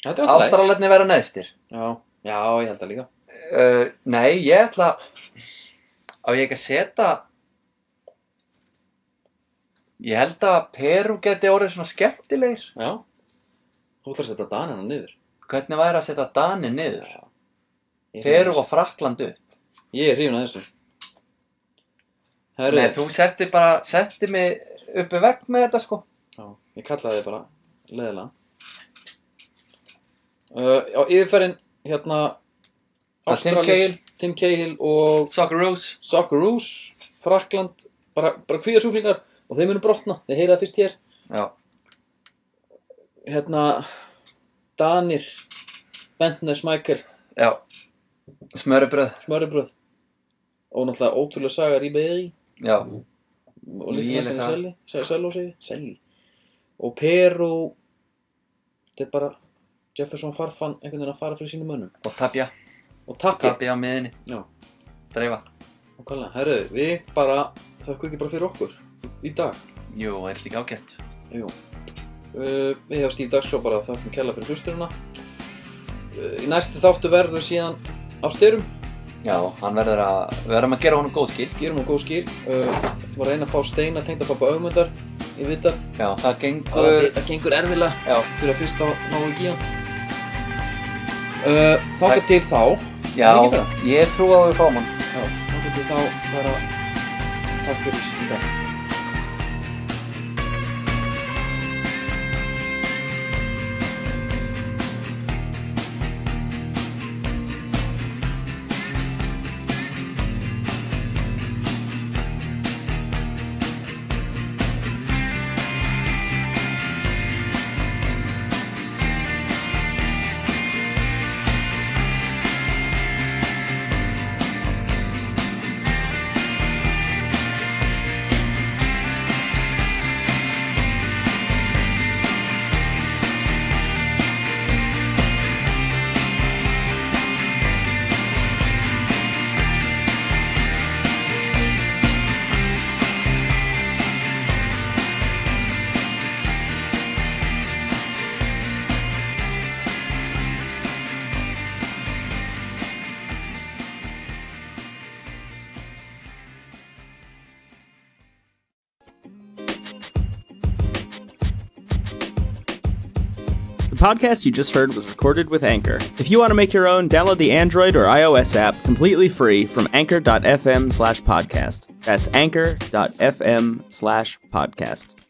Speaker 1: Þetta er alltaf leið
Speaker 2: ástralarnir vera neðstir.
Speaker 1: Já, já, ég held það líka
Speaker 2: Uh, nei, ég ætla á ég ekki að setja ég held að Peru geti orðið svona skemmtilegir
Speaker 1: Já Þú ætlar að setja Danina niður
Speaker 2: hvernig væri að setja Dani niður
Speaker 1: Ég er
Speaker 2: Peru
Speaker 1: hrifinn af
Speaker 2: og Fraklandu
Speaker 1: þessu. Ég er hrifin að þessu Herri,
Speaker 2: Nei, þú setti bara, setti mig uppi vekk með þetta sko
Speaker 1: Já, ég kallaði þið bara leðilega. Uh, á yfirferðin hérna
Speaker 2: Að Tim
Speaker 1: Ástralir,
Speaker 2: Cahill.
Speaker 1: Tim Cahill og
Speaker 2: Socceroos
Speaker 1: Socceroos, Frakland, bara, bara kvíðarsúklingar og þeir munu brotna, þeir heyra það fyrst hér.
Speaker 2: Já,
Speaker 1: Hérna, Danir, Bentner, Smækkel,
Speaker 2: já Smörubröð,
Speaker 1: Smöribröð og náttúrulega ótrúlega saga Ríbeiri
Speaker 2: já
Speaker 1: og
Speaker 2: Lygileg
Speaker 1: Lífnækkan
Speaker 2: saga.
Speaker 1: Selli, Selli og Selli, Selli og Peru, þetta er bara Jefferson Farfan einhvern veginn að fara fyrir sínum mönnum
Speaker 2: og Tapja,
Speaker 1: og tapja
Speaker 2: Tapja á miðinni
Speaker 1: Já.
Speaker 2: Dreifa
Speaker 1: Nákvæmlega, herru, við bara þökkum ekki bara fyrir okkur í dag
Speaker 2: Jú, er þetta ekki ágætt?
Speaker 1: Jú uh, Við hjá Stíf Dagskrá bara þökkum kella fyrir hlusturina uh, Í næstu þáttu verður síðan á styrum
Speaker 2: Já, hann verður að, við verðum að gera honum góð skil
Speaker 1: Gerum hún góð skýr uh, Það var að reyna að fá steina tengda pappa augmyndar Ég veit að
Speaker 2: Já, það gengur
Speaker 1: það það gengur erfilega
Speaker 2: Já,
Speaker 1: fyrir að fyrst á náu ekki hann uh, Þáttu
Speaker 2: Það-
Speaker 1: til þá
Speaker 2: já,
Speaker 1: Það er ekki bara.
Speaker 2: ég trú að við fáum hann
Speaker 1: Já, Þáttu til þá bara Takk fyrir í dag
Speaker 4: The podcast you just heard was recorded with Anchor. If you want to make your own, download the Android or iOS app completely free from anchor.fm slash podcast. That's anchor.fm slash podcast.